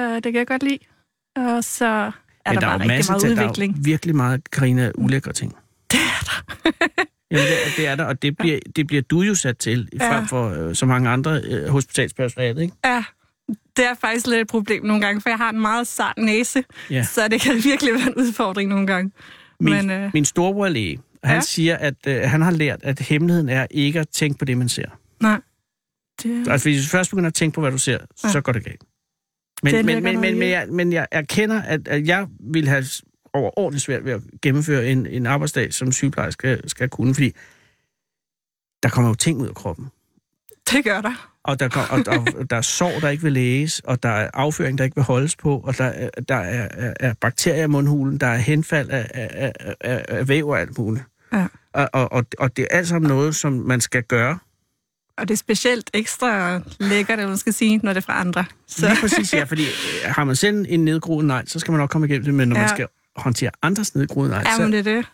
F: Uh, det kan jeg godt lide. Og så er der,
D: Men
F: bare
D: jo
F: rigtig
D: masser
F: meget
D: til-
F: udvikling.
D: Der er jo virkelig meget, Karina, ulækre ting. Det er der. Jamen, det er, det er der, og det bliver, det bliver du jo sat til,
F: Ja.
D: frem for øh, så mange andre øh, hospitalspersonale, ikke?
F: Ja, det er faktisk lidt et problem nogle gange, for jeg har en meget sart næse,
D: Ja.
F: ja. så det kan virkelig være en udfordring nogle gange.
D: Min,
F: Men øh,
D: min storebror er læge, og han
F: Ja.
D: siger, at øh, han har lært, at hemmeligheden er ikke at tænke på det, man ser.
F: nej, det,
D: Altså, hvis du først begynder at tænke på, hvad du ser, ja. så går det galt. Men, men,
F: Den
D: men,
F: ligger
D: men,
F: noget i.
D: men, jeg, men jeg erkender, at, at jeg vil have s- overordentligt svært ved at gennemføre en, en arbejdsdag, som sygeplejerske skal kunne, fordi der kommer jo ting ud af kroppen.
F: det gør der.
D: Og der, kom, og, der, der er sår, der ikke vil læges, og der er afføring, der ikke vil holdes på, og der, er- der er, er, er bakterier i mundhulen, der er henfald af, af, af- af, af væv og alt muligt.
F: Ja.
D: Og, og, og, og det er alt sammen noget, som man skal gøre.
F: Og det er specielt ekstra lækkert, eller man skal sige, når det er fra andre. Så
D: Lige præcis, ja, fordi øh, har man selv en nedgroet nej, så skal man nok komme igennem det, men når ja. man
F: Ja.
D: skal håndtere andres nedgroede nej,
F: ja,
D: så...
F: men det er det.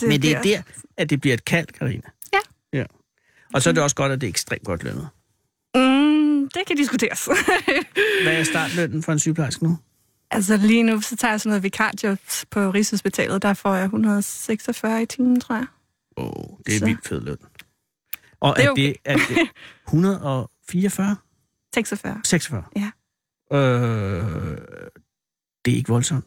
F: det
D: men det er der, at det bliver et kald, Karina.
F: Ja.
D: ja. Og så er det også godt, at det er ekstremt godt lønnet.
F: Mm, det kan diskuteres.
D: Hvad er startlønnen for en sygeplejerske nu?
F: altså lige nu, så tager jeg sådan noget vikarjobs på Rigshospitalet. Der får jeg 146 i timen, tror jeg.
D: Åh, oh, det er
F: Så.
D: vildt fed løn. Og
F: Det
D: det
F: er
D: er, det, er det 144?
F: 46.
D: 46?
F: Ja.
D: Øh, det er ikke voldsomt.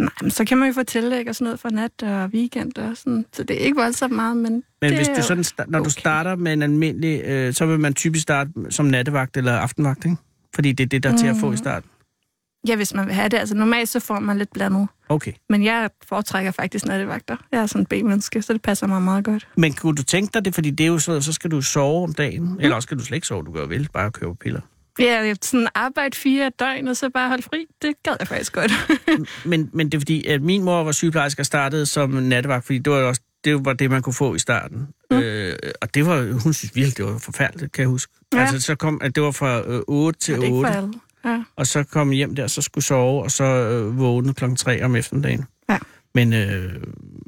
F: Nej, men så kan man jo få tillæg og sådan noget for nat og weekend og sådan. Så det er ikke voldsomt meget, men
D: Men
F: Det
D: det hvis
F: er
D: du
F: jo
D: sådan, sta- når okay. du
F: okay.
D: starter med en almindelig, øh, så vil man typisk starte som nattevagt eller aftenvagt, ikke? Fordi det er det, der er til at
F: Mm.
D: få i starten.
F: ja, hvis man vil have det. Altså normalt så får man lidt blandet.
D: Okay.
F: Men jeg foretrækker faktisk nattevagter. Jeg er sådan en B-menneske, så det passer mig meget godt.
D: Men kunne du tænke dig det, fordi det er jo sådan, så skal du sove om dagen,
F: Mhm.
D: mm. eller også skal du slet ikke sove, du gør vel, bare købe piller.
F: Ja, jeg sådan arbejde fire døgn, og så bare holde fri. Det gad jeg faktisk godt.
D: Men, men det er fordi, at min mor var sygeplejerske og startede som nattevagt, fordi det var jo også det, var det man kunne få i starten. Mm.
F: Mhm.
D: Øh, og det var, hun synes virkelig, det var forfærdeligt, kan jeg huske. Ja.
F: Ja.
D: Altså, så kom, at det var fra øh, 8 til
F: det er ikke
D: 8,
F: for alle. Ja.
D: og så kom hjem der, så skulle sove, og så øh, vågne klokken 3 om eftermiddagen.
F: Ja.
D: Men, øh,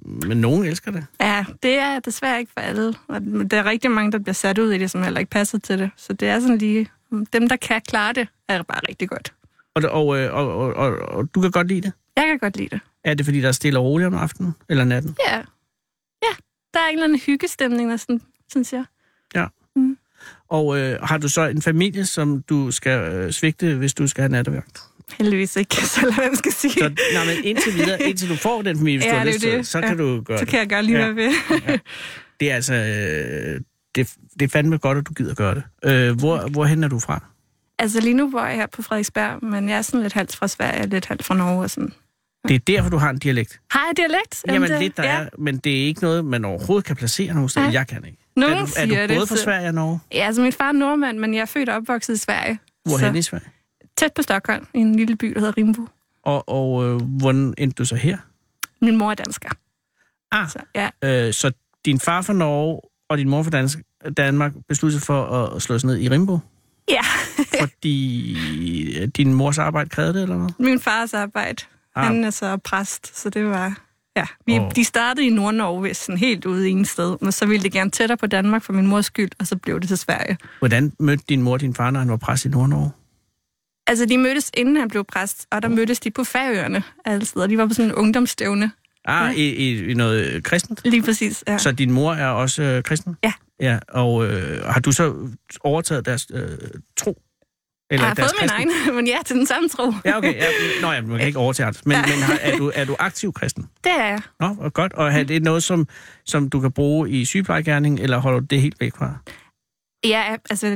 D: men nogen elsker det.
F: ja, det er desværre ikke for alle. Og der er rigtig mange, der bliver sat ud i det, som heller ikke passer til det. Så det er sådan lige... Dem, der kan klare det, er bare rigtig godt.
D: Og, og, øh, og, og, og, og du kan godt lide det.
F: Jeg kan godt lide det.
D: Er det, fordi der er stille og roligt om aftenen eller natten?
F: Ja. Ja, der er en eller anden hyggestemning, der sådan, synes jeg.
D: Og øh, har du så en familie, som du skal øh, svigte, hvis du skal have nattevagt?
F: Heldigvis ikke, så eller hvad man skal sige.
D: Så, nej, men indtil videre, indtil du får den familie, hvis
F: Ja,
D: du har
F: det er
D: lyst til
F: jo
D: det,
F: det.
D: så kan
F: Ja.
D: du gøre
F: Så
D: det.
F: kan jeg gøre lige, hvad jeg vil.
D: Det er altså øh, det, det er fandme godt, at du gider gøre det. Øh, hvor, hvorhen er du fra?
F: Altså lige nu bor jeg her på Frederiksberg, men jeg er sådan lidt halvt fra Sverige og lidt halvt fra Norge og sådan.
D: Det er derfor, du har en dialekt.
F: Har jeg dialekt?
D: Jamen,
F: det,
D: lidt der ja. er, men det er ikke noget, man overhovedet kan placere nogen steder.
F: Nej.
D: Jeg kan ikke.
F: Nogen
D: er du, er
F: siger
D: du
F: det,
D: både fra
F: så-
D: Sverige og Norge?
F: Ja, altså min far er nordmand, men jeg er født og opvokset i Sverige.
D: Hvorhen i
F: så,
D: Sverige?
F: tæt på Stockholm, i en lille by, der hedder Rimbo.
D: Og, og øh, hvordan endte du så her?
F: Min mor er dansker.
D: Ah,
F: Så, ja,
D: øh, så din far fra Norge og din mor fra Dansk, Danmark besluttede sig for at, at slå sig ned i Rimbo,
F: ja.
D: fordi øh, din mors arbejde krævede det, eller hvad?
F: min fars arbejde.
D: Ah.
F: Han er så præst, så det var... Ja, vi,
D: Åh.
F: oh. de startede i Nord-Norge, sådan helt ude i en sted, men så ville det gerne tættere på Danmark for min mors skyld, og så blev det til Sverige.
D: Hvordan mødte din mor din far, når han var præst i Nordnorge?
F: Altså, de mødtes, inden han blev præst, og der mødtes de på Færøerne altid, og de var på sådan en ungdomsstævne.
D: Ah, i, i, i noget øh, kristent?
F: Lige præcis, ja.
D: Så din mor er også øh, kristen?
F: Ja.
D: Ja, og øh, har du så overtaget deres øh, tro?
F: Ah, jeg har
D: deres
F: fået min
D: kristen-
F: egen, men ja, til den samme tro.
D: Ja, okay. Ja, nå, ja, man kan ikke overtage det. Men, men har, er, du, er du aktiv kristen?
F: Det er jeg.
D: Nå, og godt. Og er det noget, som, som du kan bruge i sygeplejegærning, eller holder du det helt væk fra?
F: Ja, altså,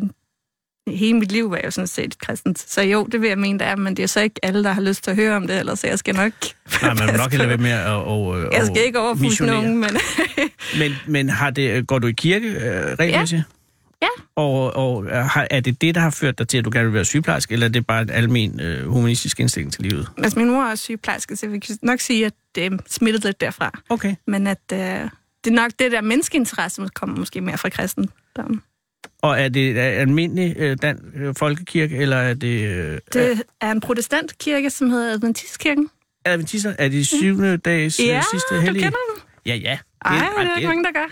F: hele mit liv var jeg jo sådan set kristent. Så jo, det vil jeg mene, det er, men det er så ikke alle, der har lyst til at høre om det, ellers så jeg skal nok...
D: Nej, man vil
F: passe
D: nok hellere
F: på.
D: være med at og, øh,
F: Jeg skal
D: og
F: ikke overfuse
D: missionere.
F: nogen, men...
D: Men, men har det, går du i kirke øh, regelmæssigt?
F: Ja.
D: Og, og er- har, er det det, der har ført dig til, at du gerne vil være sygeplejerske, eller er det bare en almen øh, humanistisk indstilling til livet?
F: altså, min mor er også sygeplejerske, så vi kan nok sige, at det er smittet lidt derfra.
D: Okay.
F: Men at øh, det er nok det der menneskeinteresse, som kommer måske mere fra kristen.
D: Og er det er almindelig øh, dan, øh, folkekirke, eller er det... Øh, det...
F: Det er en protestantkirke, som hedder Adventistkirken.
D: Adventister? Er det syvende dages ja,
F: Ja,
D: sidste
F: du
D: hellige?
F: kender den.
D: Ja, ja.
F: Ej, det er der ikke mange, der gør.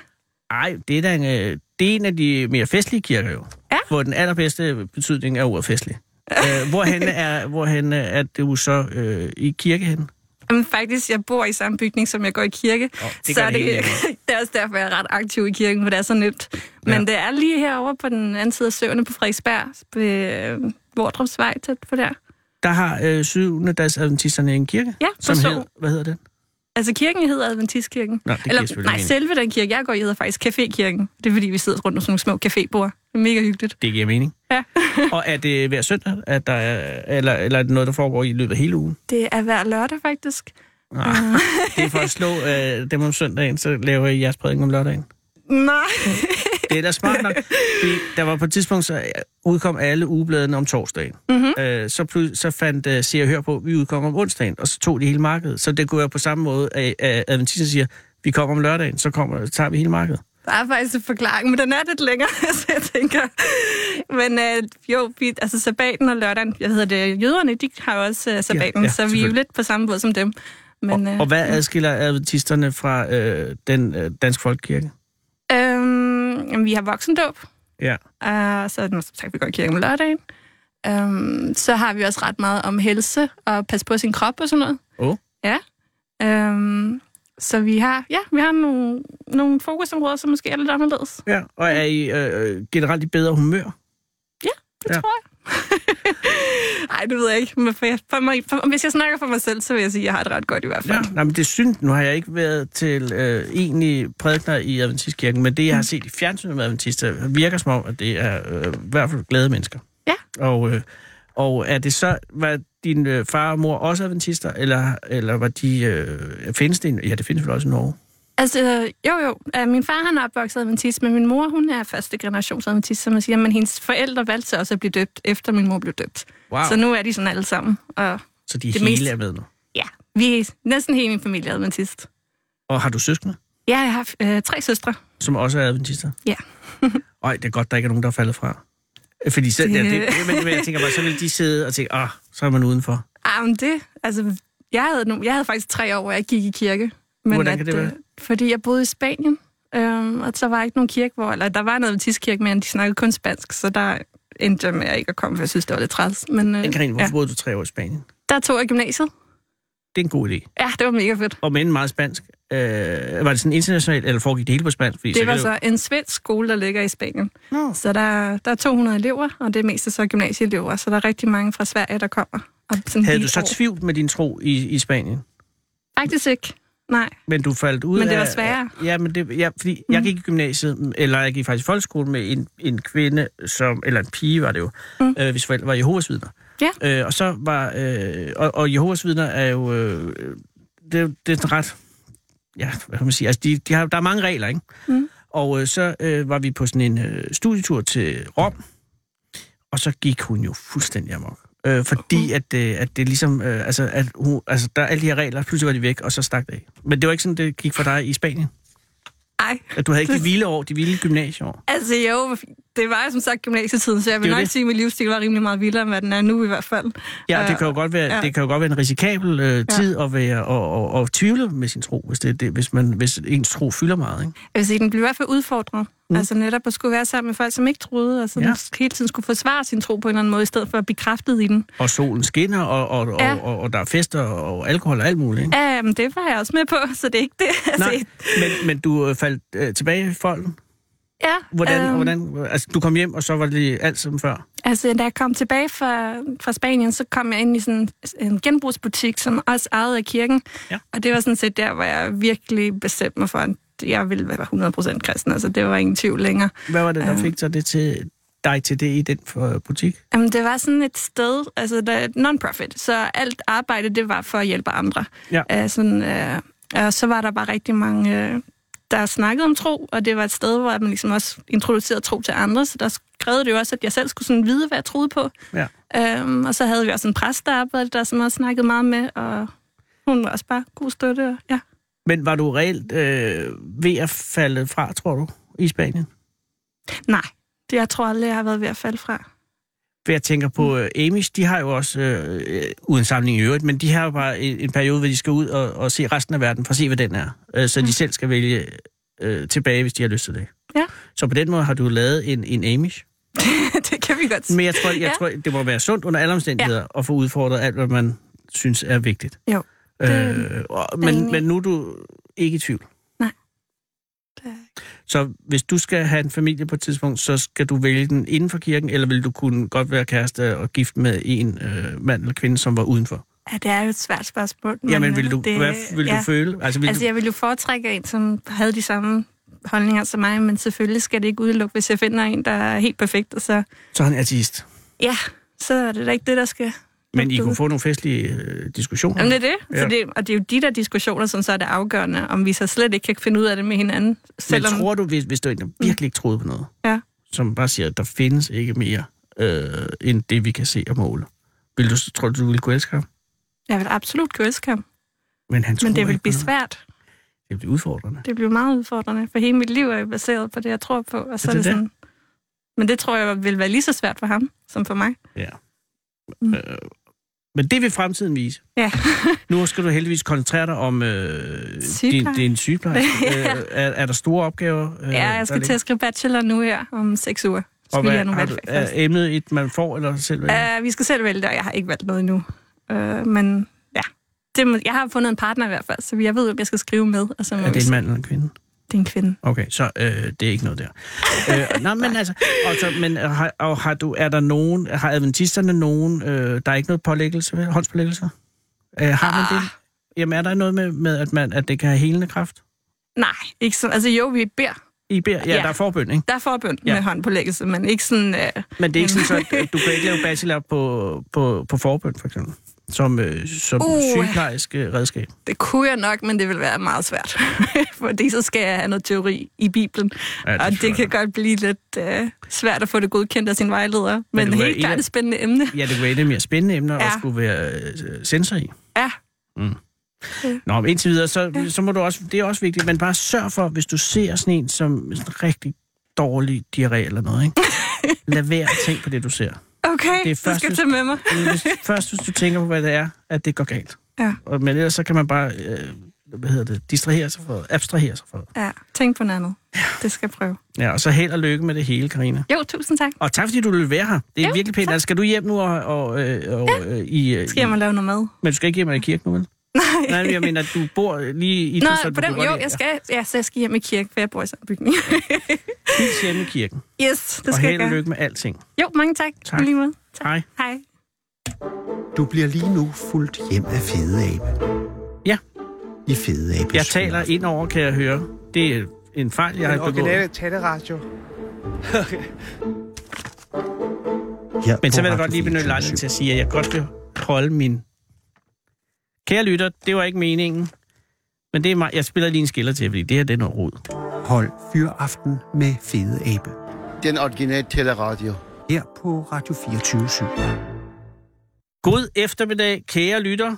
D: Ej, det er, da en, øh, det er en af de mere festlige kirker jo.
F: Ja.
D: Hvor den allerbedste betydning er ordet festlig. øh, hvorhen er, hvorhen øh, er du så øh, i kirke henne?
F: Jamen, faktisk, jeg bor i samme bygning, som jeg går i kirke. Oh,
D: det
F: så
D: gør
F: er
D: det
F: det,
D: helt
F: det er også derfor, jeg er ret aktiv i kirken, for det er så nemt. Men
D: Ja.
F: det er lige herovre på den anden side af søerne på Frederiksberg, ved øh, Vordrupsvej, tæt på der.
D: Der har øh, syvende dags adventisterne en kirke.
F: Ja, på
D: som
F: Sorg.
D: hedder, Hvad hedder den?
F: Altså, kirken hedder Adventistkirken.
D: Nå, det giver selvfølgelig
F: nej,
D: mening.
F: selve den kirke, jeg går i, hedder faktisk Cafékirken. Det er, fordi vi sidder rundt om sådan nogle små cafébord. Det er mega hyggeligt.
D: Det giver mening.
F: Ja.
D: og er det hver søndag, at der er, eller, eller er det noget, der foregår i løbet af hele ugen?
F: Det er hver lørdag, faktisk.
D: Ah,
F: Mm.
D: det er for at slå øh, dem om søndagen, så laver I jeres prædiken om lørdagen.
F: Nej.
D: Det er da smart nok. Fordi der var på et tidspunkt, så øh, udkom alle ugebladene om torsdagen.
F: Mhm.
D: Mm-hmm. Øh, så, plus, så fandt øh, Se og Hør på, vi udkommer om onsdagen, og så tog de hele markedet. Så det kunne være på samme måde, at, at adventisterne siger, vi kommer om lørdagen, så kommer, tager vi hele markedet.
F: Der er faktisk en forklaring, men den er lidt længere, så jeg tænker. Men øh, jo, vi, altså sabbaten og lørdagen, jeg hedder det, jøderne, de har jo også øh, sabbaten,
D: Ja,
F: ja,
D: ja,
F: ja, så vi er jo
D: selvfølgelig.
F: lidt på samme båd som dem. Men, øh,
D: Og hvad adskiller adventisterne fra øh, den øh, danske folkekirke?
F: Øh, jamen, vi har voksendåb,
D: Ja.
F: og så er det som sagt, vi går i kirke om lørdagen. Øh, så har vi også ret meget om helse og passe på sin krop og sådan noget.
D: Oh.
F: Ja. Øh, så vi har, ja, vi har nogle, nogle fokusområder, som måske er lidt anderledes.
D: ja. Og er I øh, generelt i bedre humør?
F: Det
D: Ja.
F: ja. tror jeg. Ej, det ved jeg ikke. Men for, jeg- for mig, for, hvis jeg snakker for mig selv, så vil jeg sige, at jeg har det ret godt i hvert fald.
D: Ja.
F: Ja.
D: Nej, men det synes, nu har jeg ikke været til øh, egentlig prædikner i Adventistkirken, men det, jeg har set i fjernsynet med adventister, virker som om, at det er øh, i hvert fald glade mennesker.
F: Ja.
D: Og, øh, og er det så, var din øh, far og mor også adventister, eller, eller var de, øh, findes det, i- ja, det findes vel også i Norge.
F: Altså, øh, jo jo. Øh, Min far han er opvokset adventist, men min mor hun er første generations adventist, som man siger. Men hendes forældre valgte så også at blive døbt, efter min mor blev døbt.
D: Wow.
F: Så nu er de sådan alle sammen. Og
D: Så de
F: Det
D: hele
F: mest-
D: er med nu.
F: ja, vi er næsten hele min familie er adventist.
D: Og har du søskende,
F: Ja, jeg har øh, tre søstre.
D: som også er adventister?
F: Ja.
D: Øj, det er godt, der ikke er nogen, der er faldet fra. Fordi så, ja, det, men, men jeg tænker bare, så vil de sidde og tænke, ah, så er man udenfor.
F: Ah, men det, altså, jeg havde, nu, jeg havde faktisk tre år, hvor jeg ikke gik i kirke. Men
D: Hvordan kan det
F: øh,
D: være?
F: Fordi jeg boede i Spanien, øhm, og så var ikke nogen kirke, hvor... Eller der var noget baptistkirke, men de snakkede kun spansk, så der endte jeg med at ikke at komme, for jeg synes, det var lidt træls. Men øh,
D: Karin, hvorfor
F: ja,
D: ja. boede du tre år i Spanien?
F: der tog jeg gymnasiet.
D: Det er en god idé.
F: Ja, det var mega fedt.
D: og men meget spansk. Øh, var det sådan internationalt, eller foregik det hele på spansk? Fordi
F: Det var
D: kan
F: så en svensk skole, der ligger i Spanien.
D: Nå.
F: Så der, der er 200 elever, og det er mest så gymnasieelever, så der er rigtig mange fra Sverige, der kommer. Og sådan
D: Havde
F: lige
D: du så
F: år.
D: tvivl med din tro i, i Spanien?
F: Faktisk ikke. Nej,
D: Men du faldt ud
F: Men det var
D: af-
F: sværere.
D: Ja, men det, ja, fordi mm. jeg gik i gymnasiet, eller jeg gik faktisk i folkeskole med en, en kvinde, som, eller en pige var det jo, mm. øh, hvis forældre var Jehovas vidner.
F: Ja.
D: Øh, og så var, øh, og, og Jehovas vidner er jo, øh, det, er jo- det er sådan ret, ja, hvad kan man sige, altså de, de har, der er mange regler, ikke?
F: Mm.
D: Og øh, så øh, var vi på sådan en øh, studietur til Rom, og så gik hun jo fuldstændig amok. Øh, fordi at, øh, at det ligesom, øh, altså, at hun, altså, der er alle de her regler, pludselig var de væk, og så stak det af. Men det var ikke sådan, det gik for dig i Spanien?
F: ej.
D: At du havde ikke de
F: Det-
D: vilde år, de vilde gymnasieår?
F: Altså jo, det var jo som sagt gymnasietiden, så jeg
D: Det er
F: vil
D: jo
F: nok
D: det.
F: sige, at min livsstil var rimelig meget vildere, end hvad den er nu i hvert fald.
D: Ja, og
F: Øh,
D: det kan jo godt være,
F: ja.
D: det kan jo godt være en risikabel øh, tid at være og, og, og tvivle med sin tro, hvis, det, det, hvis, man, hvis ens tro fylder meget. Ikke?
F: Jeg vil sige, den blev i hvert fald udfordret. Mm. Altså netop at skulle være sammen med folk, som ikke troede, og sådan
D: Ja.
F: ja. hele tiden skulle forsvare sin tro på en eller anden måde, i stedet for at blive bekræftet i den.
D: Og solen skinner, og, og,
F: Ja.
D: og, og, og der er fester og alkohol og alt muligt. Ikke?
F: Ja, men det var jeg også med på, så det er ikke det. Altså,
D: Nej, men, men du øh, faldt øh, tilbage i folden.
F: Ja,
D: Hvordan,
F: øhm,
D: hvordan, altså, du kom hjem, og så var det alt som før.
F: Altså, da jeg kom tilbage fra, fra Spanien, så kom jeg ind i sådan en genbrugsbutik, som også ejede af kirken.
D: Ja.
F: Og det var sådan set der, hvor jeg virkelig bestemte mig for, at jeg ville være 100% kristen. Altså, det var ingen tvivl længere.
D: Hvad var det, der
F: Øhm.
D: fik så det til dig til det i den for butik?
F: Jamen, det var sådan et sted, altså der er et non-profit, så alt arbejde, det var for at hjælpe andre.
D: Ja.
F: Øh, sådan, øh, og så var der bare rigtig mange, øh, der snakkede om tro, og det var et sted, hvor man ligesom også introducerede tro til andre, så der krævede det jo også, at jeg selv skulle sådan vide, hvad jeg troede på.
D: Ja.
F: Øhm, og så havde vi også en præst, der arbejdede der, som også snakkede meget med, og hun var også bare god støtte. Og, ja.
D: Men var du reelt øh, ved at falde fra, tror du, i Spanien?
F: Nej, det jeg tror aldrig, jeg har været ved at falde fra.
D: For jeg tænker
F: Mm.
D: på øh, Amish, de har jo også, øh, øh, uden samling i øvrigt, men de har jo bare en, en periode, hvor de skal ud og, og se resten af verden for at se, hvad den er. Øh, så de selv skal vælge øh, tilbage, hvis de har lyst til det.
F: Mm. Ja.
D: Så på den måde har du lavet en, en Amish.
F: det kan vi godt sige.
D: Men jeg tror, jeg ja.
F: Ja.
D: tror, det må være sundt under alle omstændigheder ja. at få udfordret alt, hvad man synes er vigtigt.
F: Jo, det-
D: øh, og, men,
F: enig.
D: men nu er du ikke i tvivl.
F: Nej. Det er jeg
D: Så hvis du skal have en familie på et tidspunkt, så skal du vælge den inden for kirken, eller vil du kunne godt være kæreste og gift med en øh, mand eller kvinde, som var udenfor?
F: Ja, det er jo et svært spørgsmål. men,
D: Jamen,
F: øh,
D: vil du, det, hvad vil ja. du føle? Altså, vil
F: Altså,
D: du,
F: jeg ville jo foretrække en, som havde de samme holdninger som mig, men selvfølgelig skal det ikke udelukke, hvis jeg finder en, der er helt perfekt, og så,
D: så er han artist.
F: ja, så er det da ikke det, der skal...
D: Men I
F: lukke
D: kunne
F: ud.
D: få nogle festlige øh, diskussioner.
F: Jamen, det er det.
D: Ja.
F: Ja. Så det. Og det er jo de der diskussioner, som så er det afgørende, om vi så slet ikke kan finde ud af det med hinanden. Selvom, Mm.
D: Men tror du, hvis, hvis du egentlig virkelig ikke troede på noget,
F: Ja.
D: som bare siger, at der findes ikke mere øh, end det, vi kan se og måle, vil du, tror du, du ville kunne elske ham?
F: Jeg vil absolut kunne elske ham,
D: Men, han tror
F: men det vil
D: ikke på
F: blive
D: noget.
F: svært.
D: Det bliver udfordrende.
F: Det bliver meget udfordrende, for hele mit liv er jo baseret på det, jeg tror på. Og så
D: Er
F: er
D: det
F: det,
D: det?
F: sådan... Men det tror jeg vil være lige så svært for ham, som for mig.
D: Ja. Mm.
F: Mm.
D: Øh, men det vil fremtiden vise.
F: Ja.
D: Nu skal du heldigvis koncentrere dig om øh, din,
F: Sygepleje.
D: din sygeplejerske.
F: Ja.
D: øh, er, er der store opgaver? Øh,
F: Ja,
D: der
F: jeg skal til
D: ligger?
F: at skrive bachelor nu her om seks uger.
D: Og
F: Skal
D: hvad,
F: jeg nu
D: har
F: valgfag
D: du,
F: først.
D: er emnet et, man får, eller selv vælger?
F: Uh, vi skal selv vælge, og jeg har ikke valgt noget endnu. Uh, men ja, det må, jeg har fundet en partner i hvert fald, så jeg ved, hvem jeg skal skrive med. Og så må
D: Er
F: vi
D: det en
F: se.
D: mand eller en kvinde?
F: Det er en kvinde.
D: Okay, så øh, det er ikke noget der. øh, nej, men altså, og så, men øh, har, og har du, er der nogen, har adventisterne nogen, øh, der er ikke noget pålæggelse, vel? håndspålæggelser? Øh, har
F: Ah.
D: man det? Jamen, er der noget med, med at, man, at det kan have helende kraft?
F: Nej, ikke sådan. Altså jo, vi beder.
D: I beder, ja, ja,
F: Ja.
D: der er forbøn, ikke?
F: Der er forbønd
D: Ja.
F: ja. med håndpålæggelse, men ikke sådan... Uh,
D: Men det er ikke sådan, så at du kan ikke lave bachelor på, på, på forbøn, for eksempel? Som, øh, som uh.
F: Uh.
D: sygeplejerske redskab.
F: det kunne jeg nok, men det vil være meget svært. Fordi så skal jeg have noget teori i Bibelen.
D: Ja, det
F: og
D: tror jeg.
F: det kan godt blive lidt uh, svært at få det godkendt af sin vejleder. Men,
D: Men
F: men
D: du er
F: helt
D: en af-
F: klart et spændende emne.
D: Ja, det kunne være et af de mere spændende emner ja. at
F: Ja.
D: skulle være øh, sensor i.
F: Ja,
D: Nå, men indtil videre, så, så må du også, det er også vigtigt, men bare sørg for, hvis du ser sådan en som sådan en rigtig dårlig diarré eller noget, ikke? Lad være at tænke på det, du ser.
F: okay,
D: Det er
F: det,
D: først,
F: skal
D: hvis-
F: jeg tage med mig.
D: Hvis, først, hvis du tænker på, hvad det er, at det går galt.
F: Ja.
D: Og, men ellers så kan man bare, øh, hvad hedder det, distrahere sig for, abstrahere sig for.
F: Ja, tænk på noget andet. Det skal jeg prøve.
D: Ja, og så held og lykke med det hele, Karina.
F: Jo, tusind tak.
D: Og tak fordi du ville være her. Det er jo,
F: Jo,
D: virkelig pænt.
F: tak.
D: Altså, skal du hjem nu og, og, øh, og ja. i, øh,
F: Skal jeg
D: i,
F: mig lave noget mad?
D: men du skal ikke hjem og i kirke nu, vel?
F: Nej.
D: Nej, men jeg mener, du bor lige i
F: Nå,
D: det, så du
F: på
D: kan
F: den,
D: godt
F: jo,
D: lide-
F: jeg skal, ja, så jeg skal hjem i kirke, for jeg bor i sådan en bygning.
D: Ja, hils hjemme i kirken.
F: yes, det
D: og
F: skal
D: held
F: jeg
D: og
F: gøre.
D: lykke med alting.
F: Jo, mange tak.
D: Tak.
F: I Lige måde. Tak.
D: Hej.
F: Hej.
C: Du bliver lige nu fuldt hjem af Fede Abe.
D: Ja.
C: i Fede Abes
D: Jeg taler
C: Fyraften.
D: ind over, kan jeg høre. Det er en fejl, jeg
G: Den
D: har begået.
G: originale taleradio.
C: Her
D: Men så
C: på
D: vil jeg
C: Radio
D: godt lige benytte
C: 24syv.
D: lejligheden til at sige, at jeg godt vil holde min... Kære lytter, det var ikke meningen. Men det er mig. Jeg spiller lige en skiller til, fordi det her det er noget rod.
C: Hold Fyraften med Fede Abe.
H: Den originale teleradio.
C: Her på Radio 24
D: God eftermiddag, kære lytter.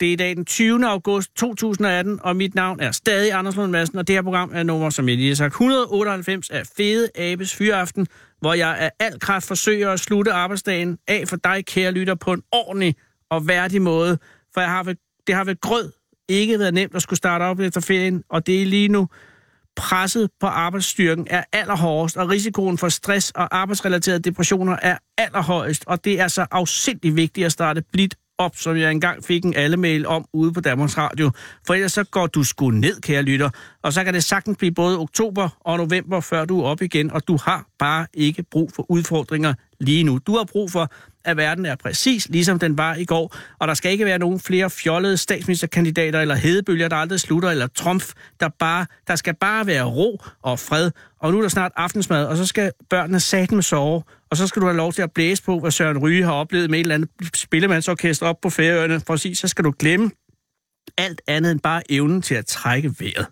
D: Det er i dag den 20. august 2018, og mit navn er stadig Anders Lund Madsen, og det her program er nummer, som jeg lige har sagt, 198 af Fede Abes Fyraften, hvor jeg af al kraft forsøger at slutte arbejdsdagen af for dig, kære lytter, på en ordentlig og værdig måde, for jeg har ved, det har ved grød ikke været nemt at skulle starte op efter ferien, og det er lige nu presset på arbejdsstyrken er allerhårdest, og risikoen for stress og arbejdsrelaterede depressioner er allerhøjest, og det er så afsindig vigtigt at starte blidt op, som jeg engang fik en alle-mail om ude på Danmarks Radio. For ellers så går du sgu ned, kære lytter, og så kan det sagtens blive både oktober og november, før du er op igen, og du har bare ikke brug for udfordringer lige nu. Du har brug for, at verden er præcis ligesom den var i går, og der skal ikke være nogen flere fjollede statsministerkandidater eller hedebølger, der aldrig slutter, eller trumf, der bare, der skal bare være ro og fred. Og nu er der snart aftensmad, og så skal børnene satme sove, og så skal du have lov til at blæse på, hvad Søren Ryge har oplevet med et eller andet spillemandsorkester op på Færøerne, for at sige, så skal du glemme alt andet end bare evnen til at trække vejret.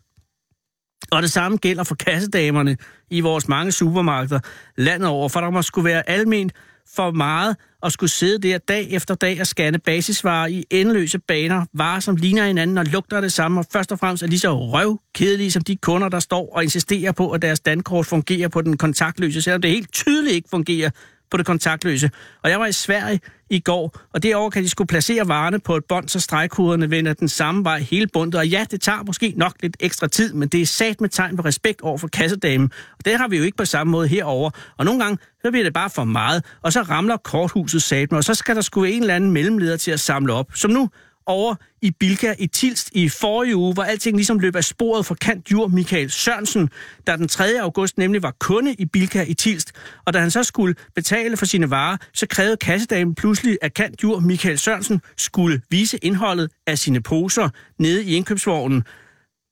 D: Og det samme gælder for kassedamerne i vores mange supermarkeder landet over, for der må skulle være almen for meget at skulle sidde der dag efter dag og scanne basisvarer i endeløse baner, varer som ligner hinanden og lugter af det samme, og først og fremmest er lige så røvkedelige som de kunder, der står og insisterer på, at deres dankort fungerer på den kontaktløse, selvom det helt tydeligt ikke fungerer på det kontaktløse. Og jeg var i Sverige i går, og derover kan de skulle placere varerne på et bånd, så stregkoderne vender den samme vej hele bundet. Og ja, det tager måske nok lidt ekstra tid, men det er sat med tegn på respekt over for kassedamen. Og det har vi jo ikke på samme måde herover. Og nogle gange, så bliver det bare for meget, og så ramler korthuset sat mig, og så skal der sgu en eller anden mellemleder til at samle op. Som nu, over i Bilka i Tilst i forrige uge, hvor alting ligesom løb af sporet for kant jur Michael Sørensen, der den 3. august nemlig var kunde i Bilka i Tilst. Og da han så skulle betale for sine varer, så krævede kassedamen pludselig, at kant jur Michael Sørensen skulle vise indholdet af sine poser nede i indkøbsvognen.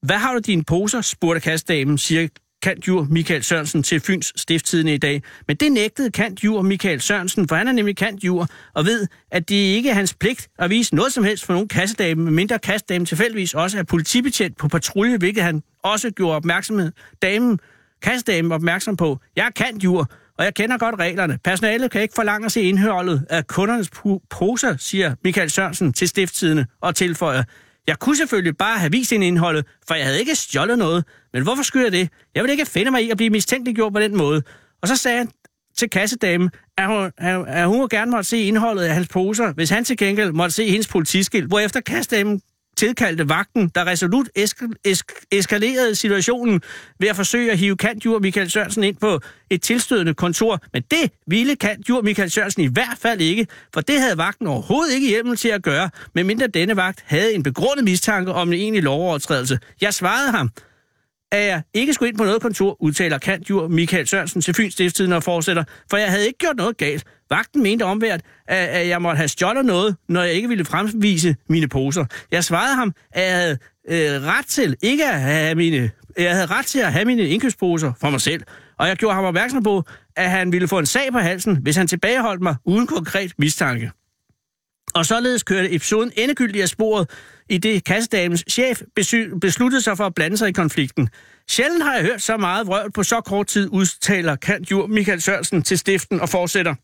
D: Hvad har du i dine poser, spurgte kassedamen, siger kantjur Michael Sørensen til Fyns Stifttidende i dag. Men det nægtede kantjur Michael Sørensen, for han er nemlig kantjur, og ved, at det ikke er hans pligt at vise noget som helst for nogen kassedame, medmindre kassedamen tilfældigvis også er politibetjent på patrulje, hvilket han også gjorde opmærksomhed. Damen, kassedamen opmærksom på, jeg er kantjur, og jeg kender godt reglerne. Personalet kan ikke forlange at se indholdet af kundernes pu- poser, siger Michael Sørensen til Stifttidende og tilføjer, jeg kunne selvfølgelig bare have vist hende indholdet, for jeg havde ikke stjålet noget. Men hvorfor skylder jeg det? Jeg vil ikke finde mig i at blive mistænkeliggjort på den måde. Og så sagde han til kassedamen, at hun, at- at hun gerne måtte se indholdet af hans poser, hvis han til gengæld måtte se hendes politiskilt, hvorefter kassedamen tilkaldte vagten, der resolut esk- esk- eskalerede situationen ved at forsøge at hive kantjur Michael Sørensen ind på et tilstødende kontor. Men det ville kantjur Michael Sørensen i hvert fald ikke, for det havde vagten overhovedet ikke hjemmel til at gøre, medmindre denne vagt havde en begrundet mistanke om en egentlig lovovertrædelse. Jeg svarede ham, at jeg ikke skulle ind på noget kontor, udtaler kantjur Michael Sørensen til Fyns Stiftstiden og fortsætter, for jeg havde ikke gjort noget galt. Vagten mente omvært, at, at jeg måtte have stjålet noget, når jeg ikke ville fremvise mine poser. Jeg svarede ham, at jeg havde øh, ret til ikke at have mine, jeg havde ret til at have mine indkøbsposer for mig selv, og jeg gjorde ham opmærksom på, at han ville få en sag på halsen, hvis han tilbageholdt mig uden konkret mistanke. Og således kørte episoden endegyldigt af sporet, i det kassedamens chef besy- besluttede sig for at blande sig i konflikten. Sjældent har jeg hørt så meget vrøvl på så kort tid, udtaler kant jur Michael Sørensen til stiften og fortsætter.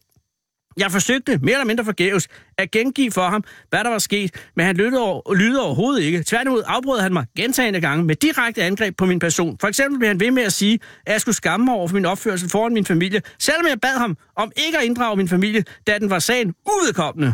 D: Jeg forsøgte mere eller mindre forgæves at gengive for ham, hvad der var sket, men han lyttede, over, lyttede overhovedet ikke. Tværtimod afbrød han mig gentagende gange med direkte angreb på min person. For eksempel blev han ved med at sige, at jeg skulle skamme mig over for min opførsel foran min familie, selvom jeg bad ham om ikke at inddrage min familie, da den var sagen uvedkommende.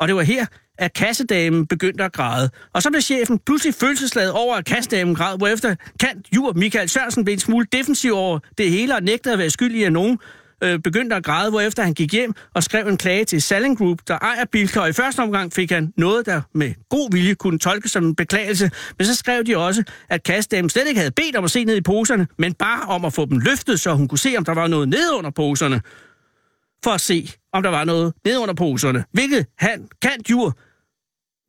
D: Og det var her, at kassedamen begyndte at græde. Og så blev chefen pludselig følelsesladet over, at kassedamen græd, hvorefter kant jur Michael Sørensen blev en smule defensiv over det hele og nægtede at være skyldig af nogen øh, begyndte at græde, hvorefter han gik hjem og skrev en klage til Salling Group, der ejer Bilka, og i første omgang fik han noget, der med god vilje kunne tolkes som en beklagelse, men så skrev de også, at kassedamen slet ikke havde bedt om at se ned i poserne, men bare om at få dem løftet, så hun kunne se, om der var noget nede under poserne for at se, om der var noget nede under poserne. Hvilket han kan jur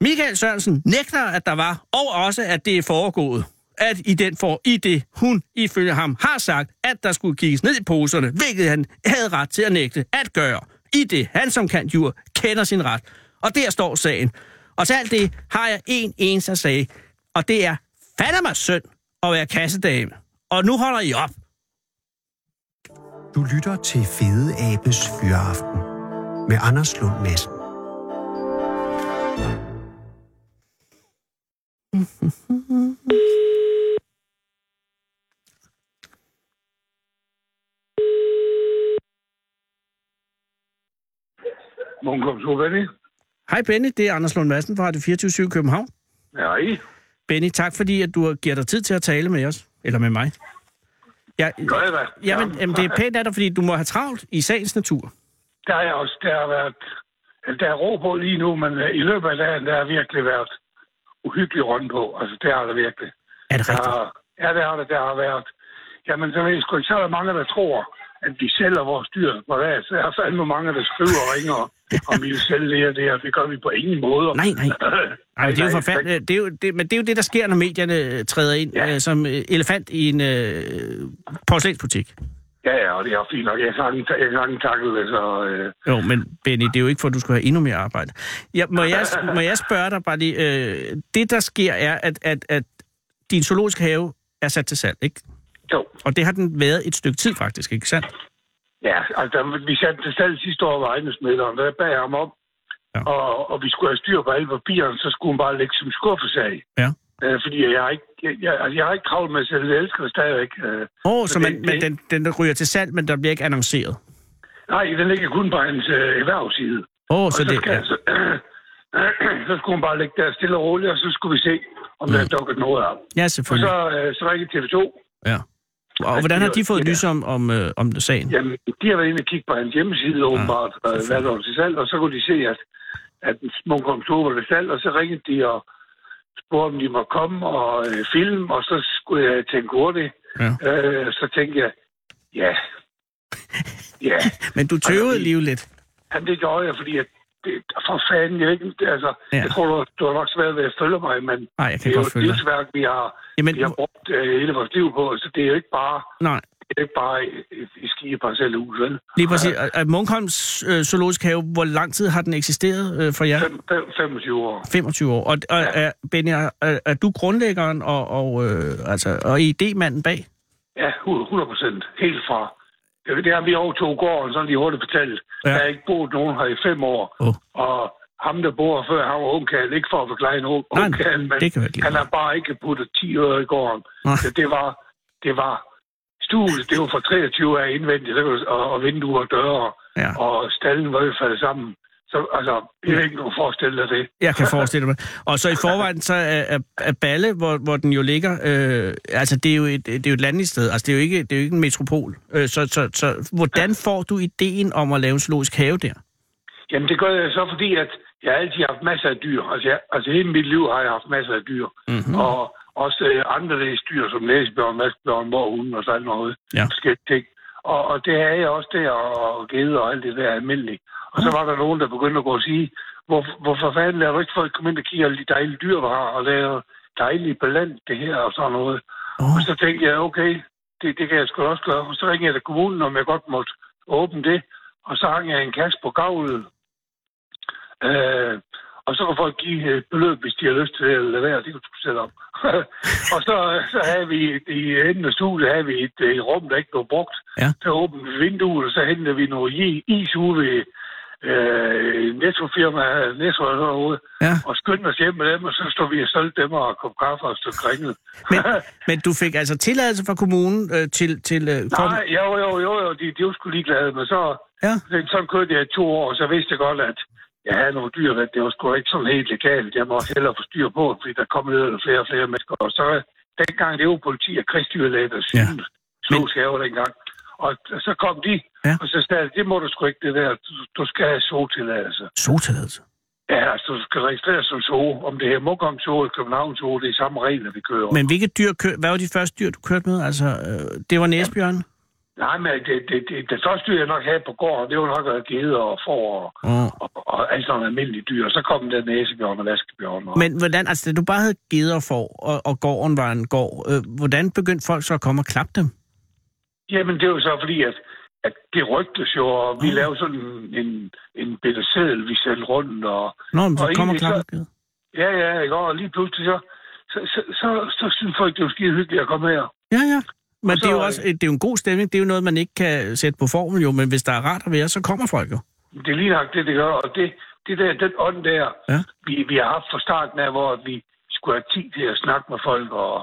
D: Michael Sørensen nægter, at der var, og også, at det er foregået. At i den for i det, hun ifølge ham har sagt, at der skulle kigges ned i poserne, hvilket han havde ret til at nægte at gøre. I det, han som kant jur, kender sin ret. Og der står sagen. Og til alt det har jeg en eneste sag, og det er fandme synd at være kassedame. Og nu holder I op.
C: Du lytter til Fede Abes Fyraften med Anders Lund Madsen.
G: Morgenkom Slovani.
D: Hej Benny, det er Anders Lund Madsen fra Radio 24 København.
G: Ja, I.
D: Benny, tak fordi at du giver dig tid til at tale med os. Eller med mig. Ja,
G: Gør jeg hvad?
D: jamen, jamen, det er pænt af dig, fordi du må have travlt i sagens natur.
G: Der er også, der har været, altså, der er ro på lige nu, men øh, i løbet af dagen, der har virkelig været uhyggelig rundt på. Altså, det har der virkelig.
D: Er det
G: Der,
D: rigtigt?
G: har- ja, det har der, der har været. Jamen, så ved jeg sgu ikke, så er der mange, der tror, at de sælger vores dyr på dag. Så er der fandme mange, der skriver og ringer, om vi vil sælge det og det, og det gør vi på ingen måde.
D: Nej, nej. Nej, men det er jo forfærdeligt. Det er jo, det, men det er jo det, der sker, når medierne øh, træder ind ja.
G: Ja.
D: øh, som øh, elefant i en øh, porcelænsbutik.
G: Ja, ja, og det er fint nok. Jeg kan ikke- jeg kan ikke takle det, så... Øh,
D: Jo, men Benny, det er jo ikke for, at du skal have endnu mere arbejde. Ja, må, jeg, må jeg spørge dig bare lige, øh, det der sker er, at, at, at din zoologiske have er sat til salg, ikke?
G: jo.
D: Og det har den været et stykke tid faktisk, ikke sandt?
G: Ja, altså vi satte til salg sidste år ved ejendomsmælderen, der bag ham om,
D: Ja.
G: ja. og, og vi skulle have styr på alle papirerne, så skulle hun bare lægge som skuffesag.
D: Ja.
G: Øh, fordi jeg har ikke, jeg, jeg, altså, jeg har ikke travlt med at sælge, jeg elsker det stadigvæk. Øh,
D: Åh, oh, så
G: Så det-
D: man, men den, den ryger til salg, men der bliver ikke annonceret.
G: nej, den ligger kun på hans øh, erhvervsside.
D: Åh, oh,
G: Og
D: så det...
G: skal,
D: Ja.
G: så, så skulle hun bare lægge der stille og roligt, og så skulle vi se, om mm. der er dukket noget op.
D: ja,
G: Og
D: selvfølgelig.
G: så, øh, så ringede TV2.
D: Ja. Og hvordan har de fået
G: Ja.
D: lys om, om, øh, om sagen?
G: Jamen, de har været inde og kigge på hans
D: Ah,
G: hjemmeside, åbenbart, ja, hvad der var til salg, og så kunne de se, at, at Munk kom tog var til salg, og så ringede de og spurgte, om de måtte komme og øh, film, og så skulle jeg tænke hurtigt.
D: Ja.
G: Øh, så tænkte jeg, ja, ja.
D: Men du tøvede lige lidt.
G: Jamen, det gjorde jeg, fordi jeg, det, for fanden, jeg, ved ikke, altså,
D: Ja.
G: ja. jeg tror, du, du har nok svært ved at følge mig, men
D: Nej, jeg
G: det
D: kan
G: er jo
D: godt
G: et
D: følge dig.
G: livsværk, vi har,
D: Jamen,
G: vi har brugt øh, hele vores liv på, så det er jo ikke bare,
D: nej,
G: det er ikke bare et, et, et skigeparcelhus, vel?
D: lige præcis. Og- og Munkholms øh, zoologisk have, hvor lang tid har den eksisteret øh, for jer?
G: Fem, fem, 25 år.
D: 25 år. Og, og er, Benny, er, er er du grundlæggeren og, og, øh, altså, og idémanden bag?
G: Ja, 100 procent. Helt fra. Det er det her, vi overtog gården, sådan lige hurtigt fortalt.
D: Ja.
G: Ja. Der er ikke boet nogen her i fem år.
D: Åh.
G: Og ham, der bor før, han var ungkald. Ikke for at forklare en ung-
D: Nej,
G: ungkald, men
D: det kan være lige
G: han har bare ikke puttet 10 øre i gården.
D: Nej.
G: Så det var, det var studiet, det var fra 23 af indvendigt, så kan du- og, og vinduer og døre,
D: Ja.
G: og stallen var jo faldet sammen. Så altså, jeg ved ikke, om du kan forestille dig det.
D: Jeg kan forestille mig. Og så i forvejen, så er, er, er Balle, hvor, hvor den jo ligger, øh, altså det er jo et, det er jo et landligt sted, altså det er jo ikke, det er jo ikke en metropol. Øh, så, så, så hvordan får du ideen om at lave en zoologisk have der?
G: Jamen, det gør jeg så, fordi at jeg har altid haft masser af dyr. Altså, jeg, altså hele mit liv har jeg haft masser af dyr. Mm-hmm. Og også øh, andre dyr, som næsebjørn, vaskbjørn, morhunde og sådan noget.
D: Ja.
G: Forskellige ting. Og, og det havde jeg også der, og og geder og alt det der almindeligt. Og så var der nogen, der begyndte at gå og sige, hvor, hvorfor fanden lader du ikke folk komme ind og kigge alle de dejlige dyr, du har, og lave dejlige på land, det her og sådan noget.
D: Åh.
G: Og så tænkte jeg, okay, det, det kan jeg sgu da også gøre. Og så ringede jeg til kommunen, om jeg godt måtte åbne det. Og så hang jeg en kasse på gavlet. Øh, og så kan folk give et beløb, hvis de har lyst til det, eller lade være. Det kan du selv om. og så, så havde vi et- i enden af studiet havde vi et, et rum, der ikke blev brugt.
D: Ja.
G: Så åbnede vi vinduet, og så hentede vi noget i- is ude ved øh, Netto-firma, Netto og sådan noget,
D: Ja.
G: og skyndte os hjem med dem, og så stod vi og solgte dem og kom kaffe og stod kringet.
D: Men, men du fik altså tilladelse fra kommunen øh, til... til øh, kom...
G: Nej, jo, jo, jo, jo, de, de var sgu ligeglade, men så,
D: Ja.
G: men sådan kørte jeg i to år, og så vidste jeg godt, at jeg havde nogle dyr, at det var sgu ikke sådan helt legalt. Jeg må også hellere få styr på, fordi der kom lidt flere og flere mennesker. Og så dengang, det var politi og krigsdyrlæge, der
D: Ja.
G: synes, slog skæver dengang. Og så kom de,
D: Ja.
G: ja. og så sagde de, det må du sgu ikke, det der. Du, du skal have zotilladelse.
D: Sotilladelse.
G: Ja, altså, du skal registreres som zoo. Om det her Mokkom Zoo eller København Zoo, det er samme regler, vi kører.
D: Men hvilke dyr kø... Hvad var de første dyr, du kørte med? Altså, øh, det var næsbjørn?
G: Nej, men det, det, det, det første, jeg nok havde på gården, det var nok øh, geder og får og,
D: Mm.
G: og, og alt sådan almindelige dyr. Og så kom den næsebjørn og vaskebjørn. Og,
D: Men hvordan, altså da du bare havde geder og får, og, og gården var en gård, øh, hvordan begyndte folk så at komme og klappe dem?
G: Jamen, det er jo så fordi, at, at det rygtes jo, og vi lavede sådan en, en, en bitte seddel, vi sendte rundt. Og,
D: Nå, men
G: Og
D: så kommer og
G: egentlig så-
D: klapper geder.
G: ja, ja, ikke? og lige pludselig så, så, så, så, så synes folk, det var skide hyggeligt at komme her.
D: Ja, ja. Men
G: Og
D: det er jo
G: så- øh,
D: også det er jo en god stemning. Det er jo noget, man ikke kan sætte på formen jo, men hvis der er rart at være, så kommer folk jo.
G: Det er lige nok det, det gør, og det, det der, den ånd der,
D: Ja.
G: vi, vi har haft fra starten af, hvor vi skulle have tid til at snakke med folk, og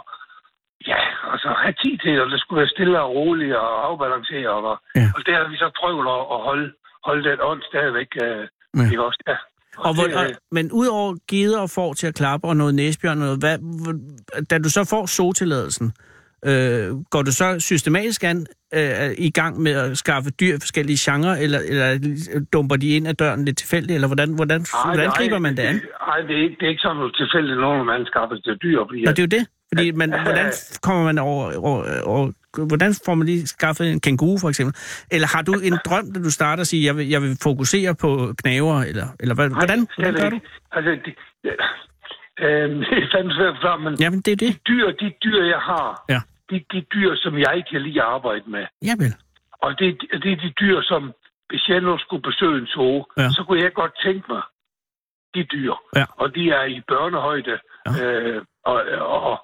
G: ja, og så have tid til, og det skulle være stille og roligt og afbalanceret, og,
D: Ja.
G: og der har vi så prøvet at, at holde, holde den ånd stadigvæk, øh,
D: Ja.
G: ja. ikke også? Ja.
D: Og hvor,
G: det,
D: og,
G: øh,
D: men udover geder og får til at klappe og noget næsbjørn, og noget, hvad, hvor- da du så får zotilladelsen, øh, går du så systematisk an øh, i gang med at skaffe dyr i forskellige genrer, eller, eller dumper de ind ad døren lidt tilfældigt, eller hvordan, hvordan,
G: Ej,
D: hvordan
G: nej,
D: griber man det an?
G: Nej, det er ikke, det er ikke sådan noget tilfældigt, når man skaffer sig dyr. Fordi,
D: Nå, det er jo det. Fordi man, hvordan kommer man over, over, over, hvordan får man lige skaffet en kænguru, for eksempel? Eller har du en drøm, da du starter og siger, jeg vil, jeg vil fokusere på knaver, eller, eller hvad, hvordan, hvordan gør du?
G: Altså, det, øh, det er fandme svært for men ja.
D: Jamen, det er det.
G: dyr, de dyr, jeg har,
D: Ja.
G: det er de dyr, som jeg kan lide at arbejde med.
D: Ja, vel.
G: Og det, er- det er de dyr, som hvis jeg nu skulle besøge en zoo,
D: Ja.
G: ja. så kunne jeg godt tænke mig de dyr.
D: Ja.
G: Og de er i børnehøjde.
D: Ja.
G: Ja. Øh, og, og, og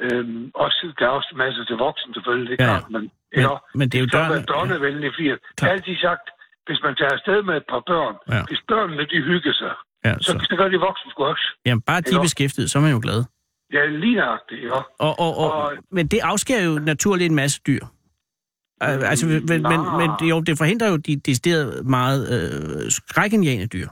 G: øhm, også, der er også masser til voksne selvfølgelig, det er
D: Ja, ja.
G: klart, men,
D: Men,
G: eller,
D: men det er jo
G: så være
D: døren. Ja.
G: børnevenlig, fordi jeg har
D: Klart.
G: altid sagt, hvis man tager afsted med et par børn,
D: Ja.
G: ja. hvis børnene de hygger sig,
D: Ja,
G: så,
D: så,
G: så gør de voksne sgu også.
D: jamen, bare de er
G: Eller-
D: beskæftiget, så er man jo glad.
G: Ja, lige nøjagtigt, ja.
D: Og, og, og,
G: Og-
D: men det afskærer jo naturligt en masse dyr. Øh, Altså, men, men, men, men det- jo, det forhindrer jo de decideret meget øh, skrækindjagende dyr.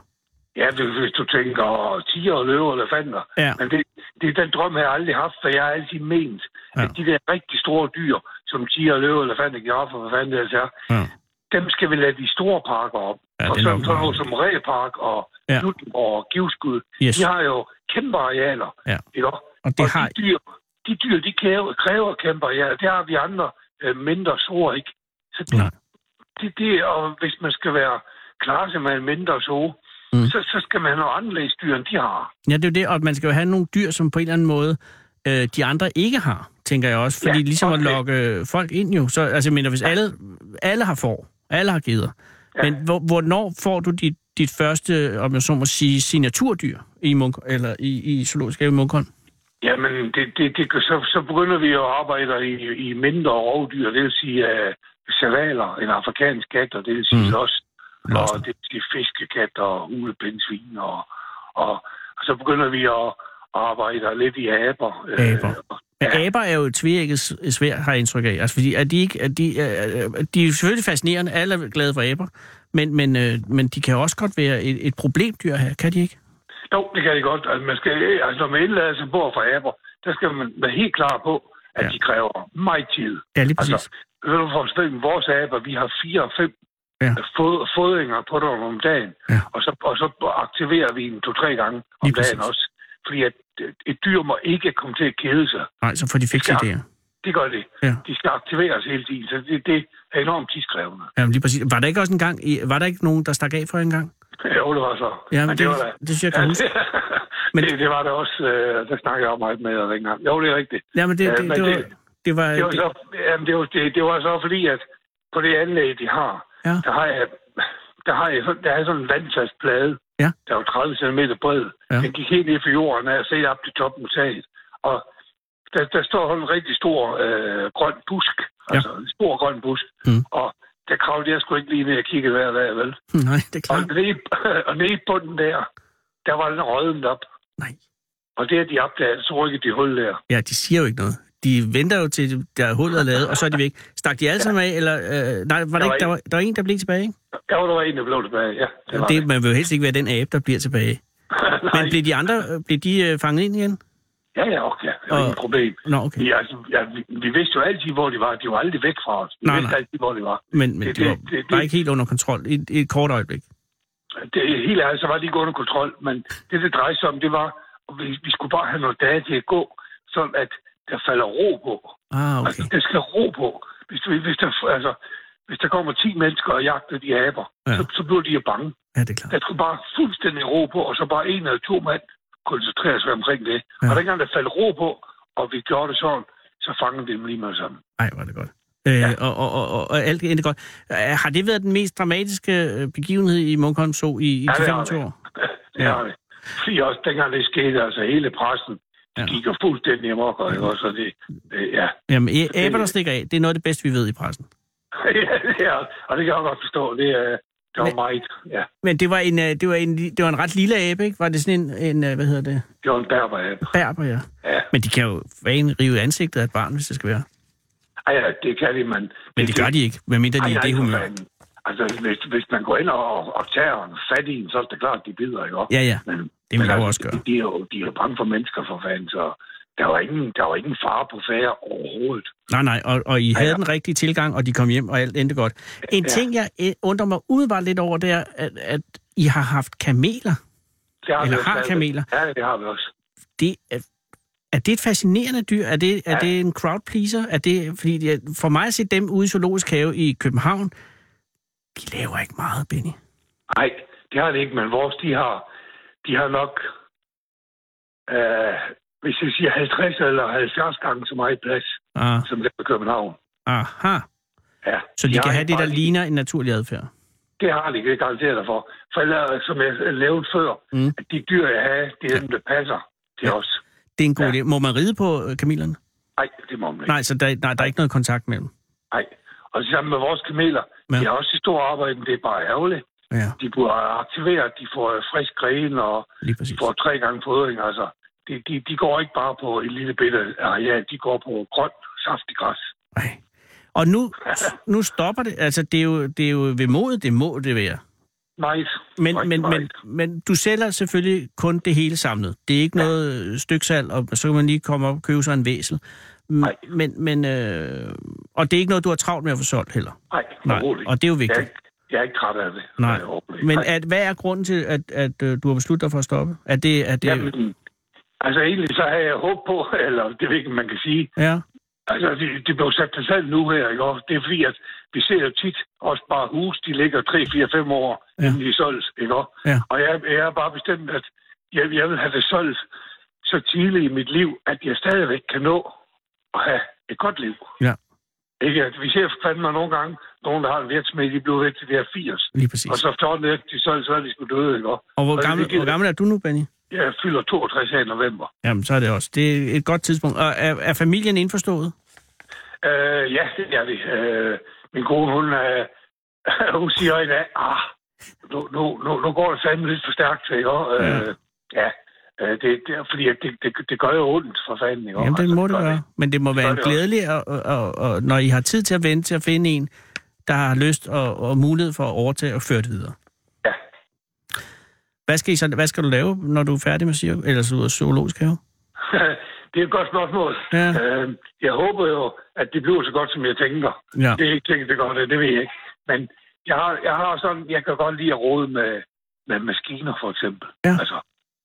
G: Ja, det- hvis du tænker åh, tiger og løver og elefanter.
D: Ja.
G: Men det, det er den drøm, jeg har aldrig haft, for jeg har altid ment,
D: Ja.
G: ja. at de der rigtig store dyr, som tiger og løver, elefanter, giraffer, hvad fanden det altså er,
D: Ja.
G: dem skal vi lade de store parker op.
D: Ja,
G: og
D: det er
G: sådan
D: nok
G: sådan
D: meget.
G: noget som Ræpark og
D: Ja.
G: ja. Juttenborg og Givskud,
D: Yes.
G: de har jo kæmpe arealer.
D: Ja.
G: Ikke? også?
D: Og det
G: og
D: har-
G: de, dyr, de dyr, de kræver, kræver kæmpe arealer. Det har vi andre øh, mindre store, ikke? Så det,
D: Nej.
G: det, det, og hvis man skal være klare sig med en mindre zoo,
D: Mm.
G: mm. så, så skal man have noget anderledes dyr, end de har.
D: Ja, det er jo det, og man skal jo have nogle dyr, som på en eller anden måde øh, de andre ikke har, tænker jeg også. Fordi ja,
G: Ja,
D: ligesom at
G: okay.
D: lokke øh, folk ind jo, så altså, jeg mener, hvis alle, alle har får, alle har geder, ja. men hvor, hvornår får du dit, dit første, om jeg så må sige, signaturdyr i, Munk, eller i, i Zoologisk Have i Munkholm?
G: Jamen, det, det, det, så, så begynder vi at arbejde i, i mindre rovdyr, det vil sige uh, savaler, en afrikansk kat, og det vil sige mm. los,
D: Los.
G: og det vil sige fiskekat og ulepindsvin, og, og, og så begynder vi at arbejde lidt i aber. øh,
D: Aber. Men ja. aber er jo et tvækket svært, har jeg indtryk af. Altså, fordi er de, ikke, er de, er, er- de er jo selvfølgelig fascinerende, alle er glade for aber, men, men, øh, men de kan jo også godt være et, et problemdyr her, kan de ikke?
G: Jo, det kan det godt. Altså, man skal, altså når man indlader sig bord for aber, der skal man være helt klar på, at
D: Ja.
G: ja. de kræver meget tid.
D: Ja, lige præcis.
G: Altså,
D: Altså,
G: ved du for eksempel, vores aber, vi har fire og fem
D: Ja.
G: ja. fod, fodringer på dem om dagen,
D: Ja.
G: ja. og, så, og så aktiverer vi en to-tre gange om
D: Lige præcis.
G: dagen også. Fordi at øh, et dyr må ikke komme til at kede sig.
D: Nej, så får de fikse
G: Ja.
D: idéer.
G: Det gør det.
D: Ja.
G: De skal aktiveres hele tiden, så det, det er enormt tidskrævende.
D: Jamen lige præcis. Var der ikke også en gang, i- var der ikke nogen, der stak af for en gang?
G: Jo, det var så.
D: Ja, men
G: men
D: det-
G: var da-
D: det synes jeg, jeg kan
G: Ja,
D: huske. Men-
G: Men... det, det var der også, øh, der snakkede jeg om meget med jer dengang. Jo, det er rigtigt.
D: Jamen det,
G: Ja,
D: det, det,
G: men
D: det, var,
G: det-
D: det var...
G: det var,
D: Det,
G: så, jamen, det, var, det, det var så fordi, at på det anlæg, de har,
D: Ja.
G: der har jeg, der har jeg, sådan- der er sådan en vandfast plade,
D: Ja.
G: der er jo 30 cm bred.
D: Ja.
G: Den gik helt ned fra jorden af og set op til toppen af taget. Og der, der står sådan en rigtig stor øh, grøn busk, altså en stor grøn busk.
D: Mm.
G: Og der kravlede jeg sgu ikke lige ned og kiggede hver dag, vel?
D: nej, det er
G: Og
D: klart.
G: nede, og nede i bunden der, der var den rødden op.
D: Nej.
G: Og det har de opdaget, så rykkede de hul der.
D: Ja, de siger jo ikke noget. De venter jo til, der er hullet er lavet, og så er de væk. Stak de alle sammen af, eller... Øh, nej, var der,
G: Der var
D: ikke, der, var, der var en, der blev tilbage, ikke?
G: Der var der en, der blev tilbage, ja. Det var
D: Det, man vil jo helst ikke være den abe, der bliver tilbage.
G: Nej.
D: Men blev de andre øh, blev de, øh, fanget ind igen?
G: Ja, ja, okay. Det
D: Og-
G: var inget problem.
D: Nå, okay.
G: Vi, altså, ja, vi, vi vidste jo altid, hvor de var. De var aldrig væk fra os. Vi
D: Nej,
G: vidste
D: nej.
G: altid, hvor de var.
D: Men, men
G: Det-
D: de var
G: det- det- det-
D: bare ikke helt under kontrol i, et- i et kort øjeblik.
G: Det, helt ærligt, så var de ikke under kontrol, men det, det drejede sig om, det var, at vi, vi skulle bare have nogle dage til at gå, sådan at der falder ro på.
D: Ah, okay.
G: Altså, der skal ro på. Hvis, vi- hvis, der, altså, hvis der kommer 10 mennesker og jagter de aber,
D: Ja.
G: ja. så, så bliver de jo bange.
D: Ja, det er klart.
G: Der skulle bare fuldstændig ro på, og så bare en eller to mand koncentrere sig omkring det.
D: Ja.
G: Ja. Og dengang der faldt ro på, og vi gjorde det sådan, så fangede vi dem lige med det samme.
D: Nej, var det godt. Øh, ja. og, og, og, og, og alt endte godt. Øh, Har det været den mest dramatiske øh, begivenhed i Munkholm så i, i
G: Ja,
D: de
G: det har
D: 25
G: det.
D: år?
G: Det
D: Ja.
G: ja. har det. Fordi også dengang det skete, altså hele pressen, de
D: Ja.
G: ja. gik jo fuldstændig amok, og ikke også, og det, øh, ja.
D: Jamen, æ- aber, der stikker af, det er noget af det bedste, vi ved i pressen.
G: ja, det er, og det kan jeg godt forstå, det, er, det var meget, ja,
D: Men det var en, øh, det var en, det var en ret lille abe, ikke? Var det sådan en, en øh, hvad hedder det,
G: det var en berber af.
D: berber, ja.
G: Ja.
D: Men de kan jo fan rive ansigtet af et barn, hvis det skal være.
G: Ej, ja, det kan de, man.
D: Men det gør de ikke, medmindre de er i det humør.
G: Altså, hvis, hvis man går ind og, og tager en fat i en, så er det klart, at de bider, ikke? også?
D: Ja, ja.
G: Men,
D: Det vil
G: men
D: jeg jo
G: altså,
D: også gøre.
G: De, de, er jo, de er jo bange for mennesker, for fanden, så der var ingen, der var ingen fare på færre overhovedet.
D: Nej, nej, og, og I
G: Ja,
D: havde
G: ja.
D: den rigtige tilgang, og de kom hjem, og alt endte godt. En ja.
G: Ja.
D: ting, jeg øh, undrer mig umiddelbart lidt over, det er, at, at I har haft kameler.
G: Det vi
D: Eller
G: også
D: har
G: stadigvæk.
D: kameler.
G: Ja, det har vi også.
D: Det er, er det et fascinerende dyr? Er det, er ja.
G: Ja.
D: det en crowd pleaser? Er det, fordi det er- for mig at se dem ude i Zoologisk Have i København, de laver ikke meget, Benny.
G: Nej, det har det ikke, men vores, de har, de har nok, øh, hvis jeg siger 50 eller 70 gange så meget plads,
D: Ah,
G: som der er i København.
D: aha.
G: Ja,
D: Så de
G: har
D: kan have
G: ikke
D: det, der
G: bare-
D: ligner en naturlig adfærd.
G: Det har de ikke garanteret dig for. For ellers, som jeg lavede før,
D: Mm.
G: mm. at de dyr, jeg havde, det er dem, der passer til
D: Ja.
G: ja. os.
D: Det er en god
G: Ja.
D: ja. idé. Må man ride på øh, kamelerne?
G: Nej, det må man ikke.
D: Nej, så der, nej, der er ikke noget kontakt mellem.
G: Nej. Og det samme med vores kameler.
D: Ja.
G: Ja. De har også et stort arbejde, men det er bare ærgerligt.
D: Ja,
G: De bliver aktiveret, de får øh, frisk gren, og
D: lige
G: de
D: præcis.
G: får tre gange fodring. Altså, de, de, de går ikke bare på et lille bitte areal, de går på grønt, saftig græs.
D: Ej. Og nu, nu stopper det. Altså, det er jo, det er jo ved modet, det må det være.
G: Meget.
D: Men,
G: rigtig
D: men, men,
G: meget.
D: men du sælger selvfølgelig kun det hele samlet. Det er ikke ja. noget øh, styksalg, og så kan man lige komme op og købe sig en væsel. M-
G: Nej.
D: Men, men, øh, og det er ikke noget, du har travlt med at få solgt heller.
G: Nej,
D: Nej,
G: roligt.
D: og det er jo
G: Jeg, er
D: vigtigt.
G: ikke- jeg er ikke træt af det.
D: Nej.
G: Jeg håber ikke.
D: Men
G: Nej.
D: at, hvad er grunden til, at, at øh, du har besluttet dig for at stoppe? Er det, er det,
G: Jamen, altså egentlig så havde jeg håb på, eller det ved ikke, man kan sige,
D: ja,
G: Altså, det, det blev sat til salg nu her, ikke? også? Det er fordi, at vi ser jo tit også bare hus, de ligger 3, 4, 5 år,
D: Ja.
G: ja. inden de er solgt, ikke? også?
D: Ja.
G: Og jeg, jeg er bare bestemt, at jeg, jeg vil have det solgt så tidligt i mit liv, at jeg stadigvæk kan nå at have et godt liv.
D: Ja.
G: Ikke? At Vi ser fandme nogle gange, nogen, der har en virksomhed, de bliver væk til de her 80.
D: lige præcis.
G: Og så 14 efter de er solgt, så er de sgu døde, ikke? også?
D: Og hvor
G: og det-
D: gammel,
G: det-
D: hvor gammel er du nu, Benny?
G: Jeg fylder 62 her i november.
D: Jamen, så er det også. Det er et godt tidspunkt. Og er, er familien indforstået?
G: Øh, ja, det er det. Øh, min kone, hun, øh, hun siger i dag, ah, nu, nu, nu, nu går det fandme lidt for stærkt, ikke? også? Øh,
D: Mm.
G: ja. Øh, det, det, er fordi at det, det, det gør jo ondt for fanden, ikke? også?
D: Jamen, det
G: Altså,
D: må det
G: gør
D: gøre. Men det må være
G: gør
D: en
G: det også.
D: glædelig, og, og, og, og når I har tid til at vente til at finde en, der har lyst og, og mulighed for at overtage og føre det videre.
G: Ja.
D: Hvad skal, I så, hvad skal du lave, når du er færdig med cirkus, eller så ud af zoologisk have?
G: det er et godt spørgsmål.
D: Ja.
G: Øh, jeg håber jo, at det bliver så godt, som jeg tænker.
D: Ja.
G: Det er ikke sikkert, det gør det, det ved jeg ikke. Men jeg har, jeg har sådan, jeg kan godt lide at rode med, med maskiner, for eksempel.
D: Ja.
G: Altså,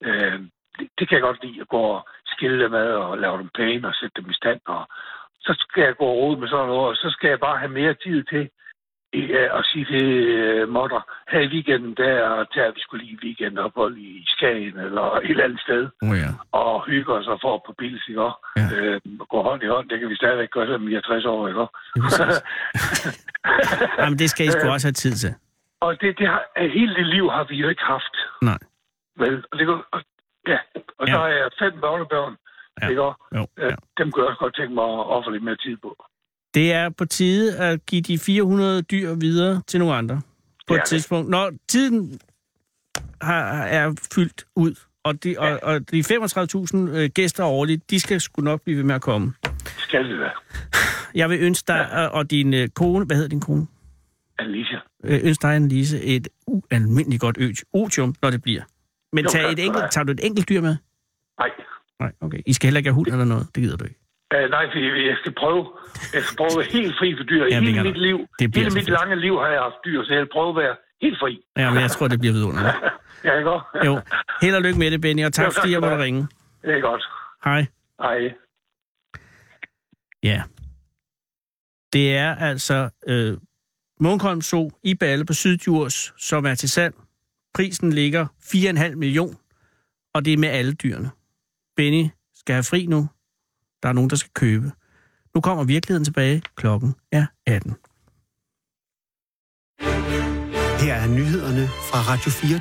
G: øh, det, det, kan jeg godt lide at gå og skille dem ad og lave dem pæne og sætte dem i stand. Og, så skal jeg gå og rode med sådan noget, og så skal jeg bare have mere tid til i- øh, at sige til øh, modder, her i weekenden, der tager vi skulle lige weekendophold i Skagen eller et eller andet sted
D: Oh, ja.
G: og hygger os og får på pils, ikke? også?
D: Ja.
G: Øh, går hånd i hånd, det kan vi stadigvæk gøre, selvom vi er 60 år, ikke? også?
D: Jamen, det skal I
G: Øh.
D: sgu også have tid til.
G: og det, det har, af hele det liv har vi jo ikke haft.
D: Nej.
G: Vel, og det går, og, ja, og
D: Ja.
G: ja. der er fem børnebørn,
D: Ja.
G: ja. ikke? også?
D: Jo,
G: Øh,
D: ja.
G: Dem kunne jeg også godt tænke mig at ofre lidt mere tid på.
D: Det er på tide at give de 400 dyr videre til nogle andre. På
G: Det
D: et
G: er det.
D: tidspunkt. Når tiden har, er fyldt ud, og de, og, og de 35.000 øh, gæster årligt, de skal sgu nok blive ved med at komme.
G: Skal det være.
D: Jeg vil ønske dig ja. og din øh, kone, hvad hedder din kone?
G: Alicia.
D: Øh, ønske dig, Lise, et ualmindeligt godt ø- otium, når det bliver. Men
G: Jo, tak
D: tag et
G: skal du
D: enkelt,
G: have.
D: tager du et enkelt dyr med?
G: Nej.
D: Nej, okay. I skal heller ikke have hund eller noget. Det gider du ikke.
G: Øh, nej, fordi jeg skal prøve. Jeg skal prøve at være helt fri for dyr.
D: Jamen,
G: Jamen,
D: det
G: hele
D: kan
G: mit
D: du.
G: liv,
D: Det bliver
G: hele
D: så
G: mit
D: fedt.
G: lange liv har jeg haft dyr, så jeg vil prøve at være helt fri.
D: Ja, men jeg tror, det bliver vidunderligt.
G: Ja, ikke? også?
D: Jo. Held og lykke med det, Benny, og tak,
G: Jo,
D: tak
G: tak
D: fordi jeg
G: skal
D: måtte
G: du have.
D: ringe.
G: Det er godt.
D: Hej.
G: Hej.
D: Ja. Det er altså øh, Munkholm Zoo i Balle på Syddjurs, som er til salg. Prisen ligger 4,5 million, og det er med alle dyrene. Benny skal have fri nu. Der er nogen, der skal købe. Nu kommer virkeligheden tilbage. Klokken er 18.
C: Her er nyhederne fra Radio 4.